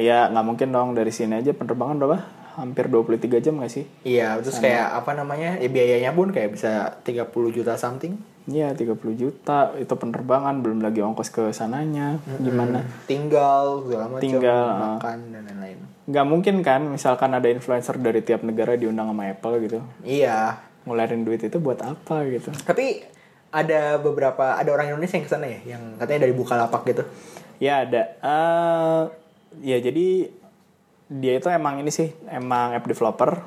Ya nggak mungkin dong dari sini aja penerbangan berapa? Hampir 23 jam nggak sih?
iya terus kayak apa namanya ya biayanya pun kayak bisa 30 juta something
Iya 30 juta itu penerbangan belum lagi ongkos ke sananya gimana?
tinggal segala macam
Tinggal, ah.
makan dan lain-lain
Nggak mungkin kan misalkan ada influencer dari tiap negara diundang sama Apple gitu
iya
ngularin duit itu buat apa gitu?
tapi ada beberapa ada orang Indonesia yang kesana ya yang katanya dari Bukalapak gitu
Ya ada. Eh, ya jadi dia itu emang ini sih emang app developer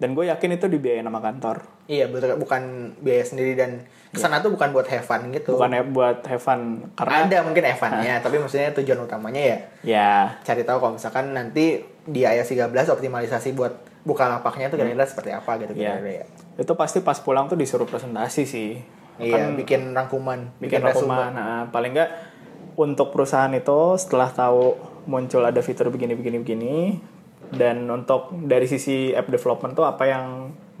dan gue yakin itu dibiayain sama kantor.
iya betul bukan biaya sendiri dan kesana tuh bukan buat have fun gitu
Iya. Bukan Ah. app buat have fun karena
ada mungkin have fun-nya, tapi maksudnya tujuan utamanya ya
ya
cari tahu kalau misalkan nanti di iOS 13 optimalisasi buat Bukalapaknya tuh kira-kira seperti apa gitu
Iya.
kira-kira ya.
Itu pasti pas pulang tuh disuruh presentasi sih.
Iya,
Kan
bikin rangkuman,
bikin
resume.
rekaman. Nah, paling nggak untuk perusahaan itu setelah tahu muncul ada fitur begini-begini-begini dan untuk dari sisi app development tuh apa yang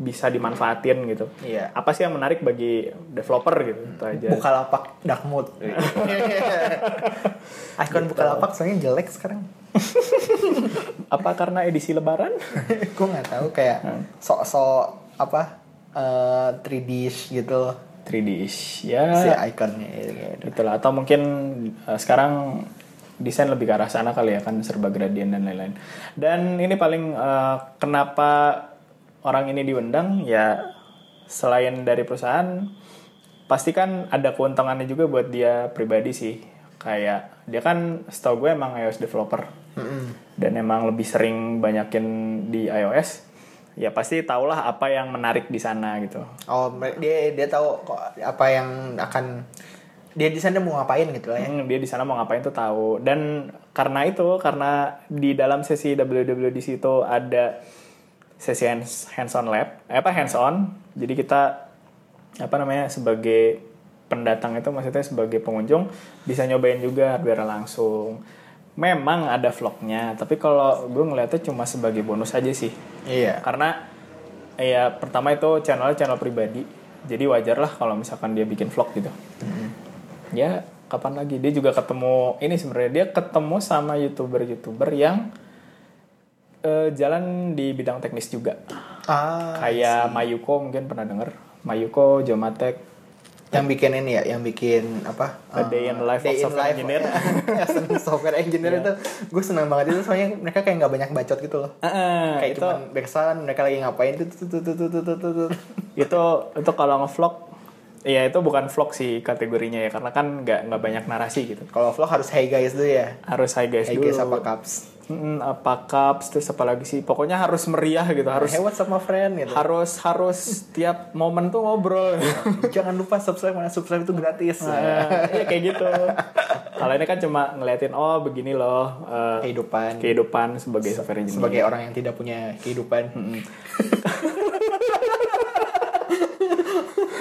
bisa dimanfaatin gitu.
Iya.
Apa sih yang menarik bagi developer gitu itu aja.
Bukalapak dark mode.
Iya.
Icon Bukalapak soalnya jelek sekarang.
Apa karena edisi lebaran?
gue nggak tahu kayak
Hmm.
sok-sok apa eh 3D gitu loh,
3D -ish. ya.
si ikonnya gitu, gitu.
Itulah atau mungkin eh, sekarang desain lebih ke arah sana kali ya kan serba gradien dan lain-lain. Dan ini paling eh, kenapa orang ini diundang ya selain dari perusahaan pasti kan ada keuntungannya juga buat dia pribadi sih. Kayak dia kan setahu gue emang iOS developer. Dan emang lebih sering banyakin di iOS. Ya pasti tahulah apa yang menarik di sana gitu.
Oh mer- dia dia tahu kok apa yang akan dia di sana mau ngapain gitu lah ya.
Hmm, dia di sana mau ngapain tuh tahu dan karena itu karena di dalam sesi WWDC itu ada sesi hands on lab eh, apa hands on jadi kita apa namanya sebagai pendatang itu maksudnya sebagai pengunjung bisa nyobain juga hardware langsung memang ada vlognya tapi kalau gue ngeliatnya cuma sebagai bonus aja sih
Iya.
karena ya pertama itu channel channel pribadi jadi wajar lah kalau misalkan dia bikin vlog gitu ya kapan lagi dia juga ketemu ini sebenarnya dia ketemu sama youtuber youtuber yang eh, jalan di bidang teknis juga
Ah,
kayak Mayuko mungkin pernah denger Mayuko Jomatek
yang bikin ini ya, yang bikin apa?
A Day in the Life of Software Engineer. Iya.
ya. As a software engineer itu gue senang banget itu soalnya mereka kayak nggak banyak bacot gitu loh.
kayak
kayak
Nah, itu
cuman backsound mereka lagi ngapain tuh tuh tuh tuh tuh tuh tuh, tuh, tuh.
itu itu kalau ngevlog ya itu bukan vlog sih kategorinya ya karena kan nggak nggak banyak narasi gitu
Kalau vlog harus hey guys dulu ya.
harus hi guys
Hey
dulu
guys apa cups?
Mm, apa cups terus apa lagi sih pokoknya harus meriah gitu harus
Hey what's up my friend gitu.
harus harus tiap momen tuh ngobrol
Jangan lupa subscribe karena subscribe itu gratis. Eh,
Nah, ya kayak gitu kalau ini kan cuma ngeliatin oh begini loh eh,
Kehidupan
kehidupan sebagai software engineer
sebagai orang yang tidak punya kehidupan.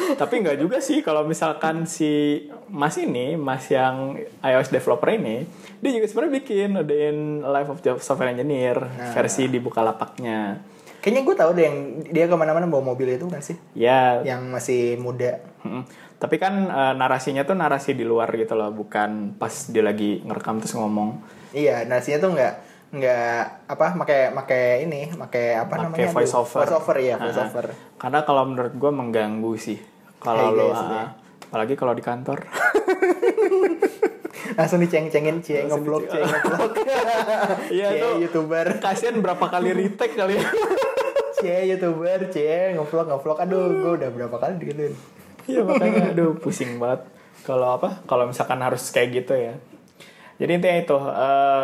tapi nggak juga sih kalau misalkan si mas ini mas yang iOS developer ini dia juga sebenarnya bikin adain life of Job software engineer versi di Bukalapaknya
Kayaknya gue tahu deh yang dia kemana-mana bawa mobil itu kan sih,
ya
yang masih muda.
Mm-mm. Tapi kan eh, narasinya tuh narasi di luar gitu loh, bukan pas dia lagi ngerekam terus ngomong.
Iya, nasinya tuh nggak nggak apa pakai pakai ini pakai apa
Pakai
namanya
voice
Aduh,
over.
voice over ya
Ah,
voice over
Karena kalau menurut gue mengganggu sih.
Hey
Kalau lo,
guys,
ah,
ya.
apalagi kalau di kantor.
langsung diceng-cengin cie
Langsung
ngeblok cie
diceng-
ngeblok
Iya
cie
tuh.
youtuber
Kasian berapa kali retake kali ya.
cie youtuber cie ngeblok ngeblok aduh gue udah berapa kali digituin
Iya makanya aduh pusing banget. Kalau apa? Kalau misalkan harus kayak gitu ya. Jadi intinya itu eh,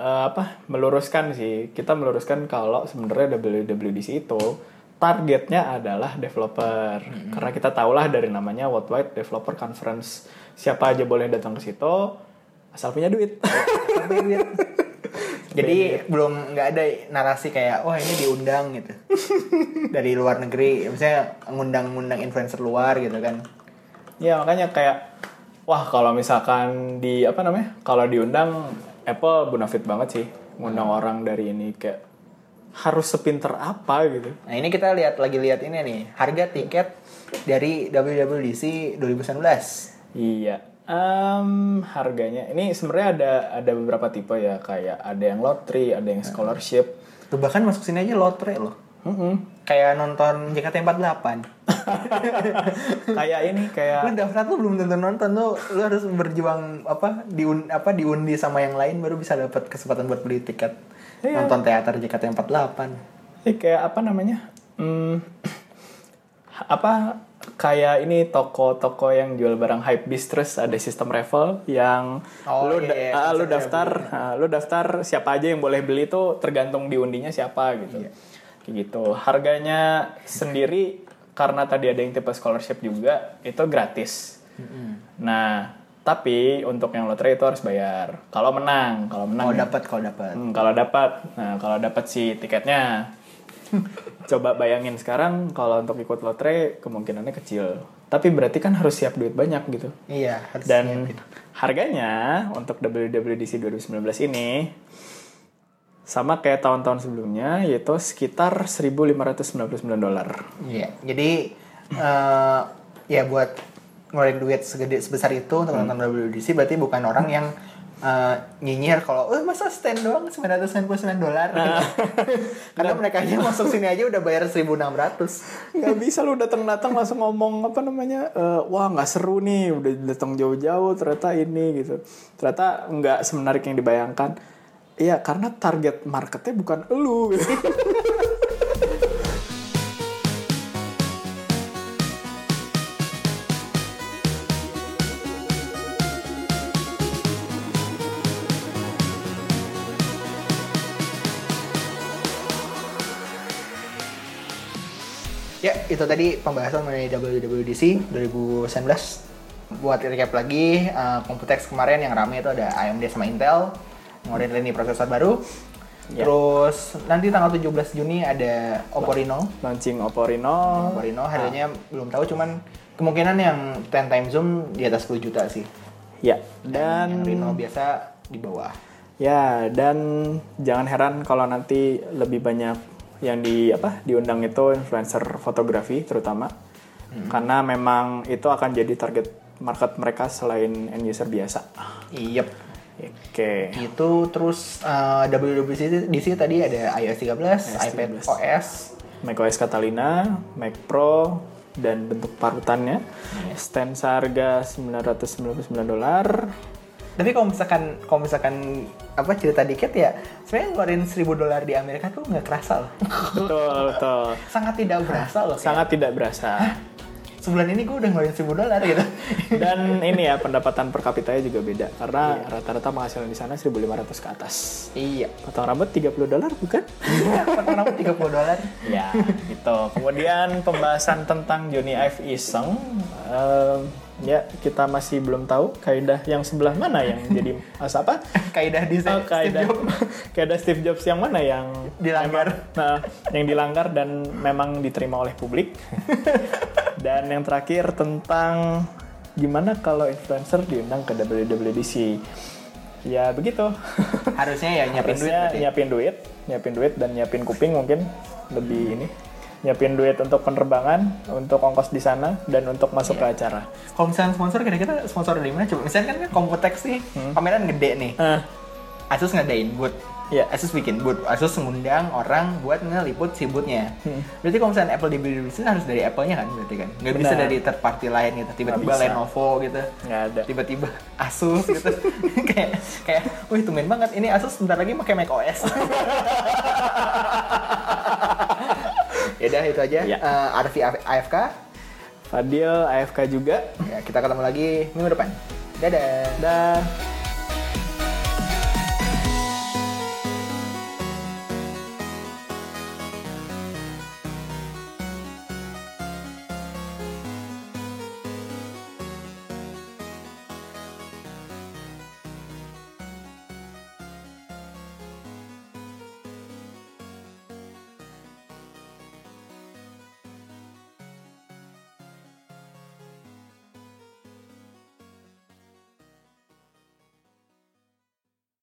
eh, apa? Meluruskan sih. Kita meluruskan kalau sebenarnya WWDC itu targetnya adalah developer. Karena kita tahulah dari namanya Worldwide Developer Conference. Siapa aja boleh datang ke situ asal punya duit.
Sampai duit. jadi belum nggak ada narasi kayak wah ini diundang gitu dari luar negeri misalnya ngundang-ngundang influencer luar gitu kan
Ya makanya kayak wah kalau misalkan di apa namanya kalau diundang Apple bonafit banget sih ngundang orang dari ini kayak harus sepinter apa gitu.
nah ini kita lihat lagi lihat ini nih harga tiket dari WWDC 2019
Iya. Em, harganya ini sebenarnya ada ada beberapa tipe ya kayak ada yang lottery, ada yang scholarship.
Tuh bahkan masuk sini aja lotre loh. Hmm.
Mm-mm.
Kayak nonton JKT48.
kayak ini kayak
Lu Nah. daftar tuh belum tentu nonton tuh. Lu harus berjuang apa diun apa diundi sama yang lain baru bisa dapat kesempatan buat beli tiket
Iya.
nonton teater JKT48.
Eh, kayak apa namanya? Hmm, apa kayak ini toko-toko yang jual barang hype terus ada sistem raffle yang
Oh,
lu
iya,
da-
iya,
ah, lu
sistem
daftar ah, lu daftar siapa aja yang boleh beli itu tergantung diundinya siapa gitu.
Iya.
Kayak gitu. Harganya sendiri karena tadi ada yang tipe scholarship juga itu gratis. Nah, tapi untuk yang lotre itu harus bayar. Kalau menang, kalau menang
Kalau
ya.
dapat kalau dapat.
Hmm, kalau dapat, nah kalau dapat si tiketnya, coba bayangin sekarang kalau untuk ikut lotre kemungkinannya kecil. Tapi berarti kan harus siap duit banyak gitu.
Iya, harus
Dan
siapin.
harganya untuk WWDC 2019 ini sama kayak tahun-tahun sebelumnya yaitu sekitar 1.599 dolar.
Iya. Jadi eh ya buat ngeluarin duit segede sebesar itu untuk nonton WWDC berarti bukan orang yang eh, nyinyir kalau eh masa stand doang 999 dolar Gitu. karena mereka aja masuk sini aja udah bayar 1600
nggak bisa lu datang datang langsung ngomong apa namanya eh, wah nggak seru nih udah datang jauh-jauh ternyata ini gitu ternyata nggak semenarik yang dibayangkan Iya karena target marketnya bukan lu gitu.
Ya, itu tadi pembahasan mengenai WWDC 2019. Buat recap lagi, eh, Computex kemarin yang rame itu ada AMD sama Intel ngeluarin lini prosesor baru.
Ya.
Terus nanti tanggal 17 Juni ada Oppo Reno.
launching Oppo Reno
Oppo Reno harganya belum tahu cuman kemungkinan yang 10 time zoom di atas 10 juta sih.
ya
Yang
dan
Reno biasa di bawah.
ya dan jangan heran kalau nanti lebih banyak yang di apa diundang itu influencer fotografi terutama karena memang itu akan jadi target market mereka selain end user biasa.
Yep.
Oke.
Itu terus eh, WWDC di sini tadi ada iOS 13, iPad
13.
OS,
macOS Catalina, Mac Pro dan bentuk parutannya. Stand seharga 999 dolar.
tapi kalau misalkan kalau misalkan apa cerita dikit ya sebenarnya ngeluarin 1000 dolar di Amerika tuh nggak kerasa loh
Betul, betul.
sangat tidak berasa loh kayak,
Sangat tidak berasa.
sebulan ini gue udah ngeluarin 1000 dolar gitu
Dan ini ya pendapatan per kapitanya juga beda karena rata-rata penghasilan di sana 1.500 ke atas.
iya
Potong rambut 30 dolar bukan?
pernah 30 dolar
ya, gitu. Kemudian pembahasan tentang Johnny Ive Iseng em, ya kita masih belum tahu kaidah yang sebelah mana yang jadi as apa?
kaidah desain
Oh,
Steve
kaidah
Jobs
kaidah Steve Jobs yang mana yang
dilanggar
nah, yang dilanggar dan memang diterima oleh publik. dan yang terakhir tentang gimana kalau influencer diundang ke WWDC. Ya begitu.
harusnya ya nyiapin duit
Harusnya
berarti.
nyiapin duit, nyiapin duit dan nyiapin kuping mungkin lebih ini. Nyiapin duit untuk penerbangan, untuk ongkos di sana dan untuk
Iya.
masuk ke acara.
kalau misalnya sponsor kira-kira sponsor dari mana coba misalnya kan Computex nih
Hmm.
pameran gede nih
Eh,
Asus ngadain booth
Iya.
Asus bikin booth Asus ngundang orang buat ngeliput si boothnya
Hmm.
berarti kalau misalnya Apple dibeli di sini harus dari Apple-nya kan berarti kan nggak bisa
Benar.
dari third party lain gitu tiba-tiba
Nggak bisa. Iya.
Lenovo gitu
nggak ada.
tiba-tiba Asus gitu kayak kayak wih tumben banget ini Asus sebentar lagi pakai Mac OS Yaudah itu aja
Ya.
Eh, Arfi AFK
Fadil AFK juga.
ya, kita ketemu lagi minggu depan dadah
Dah.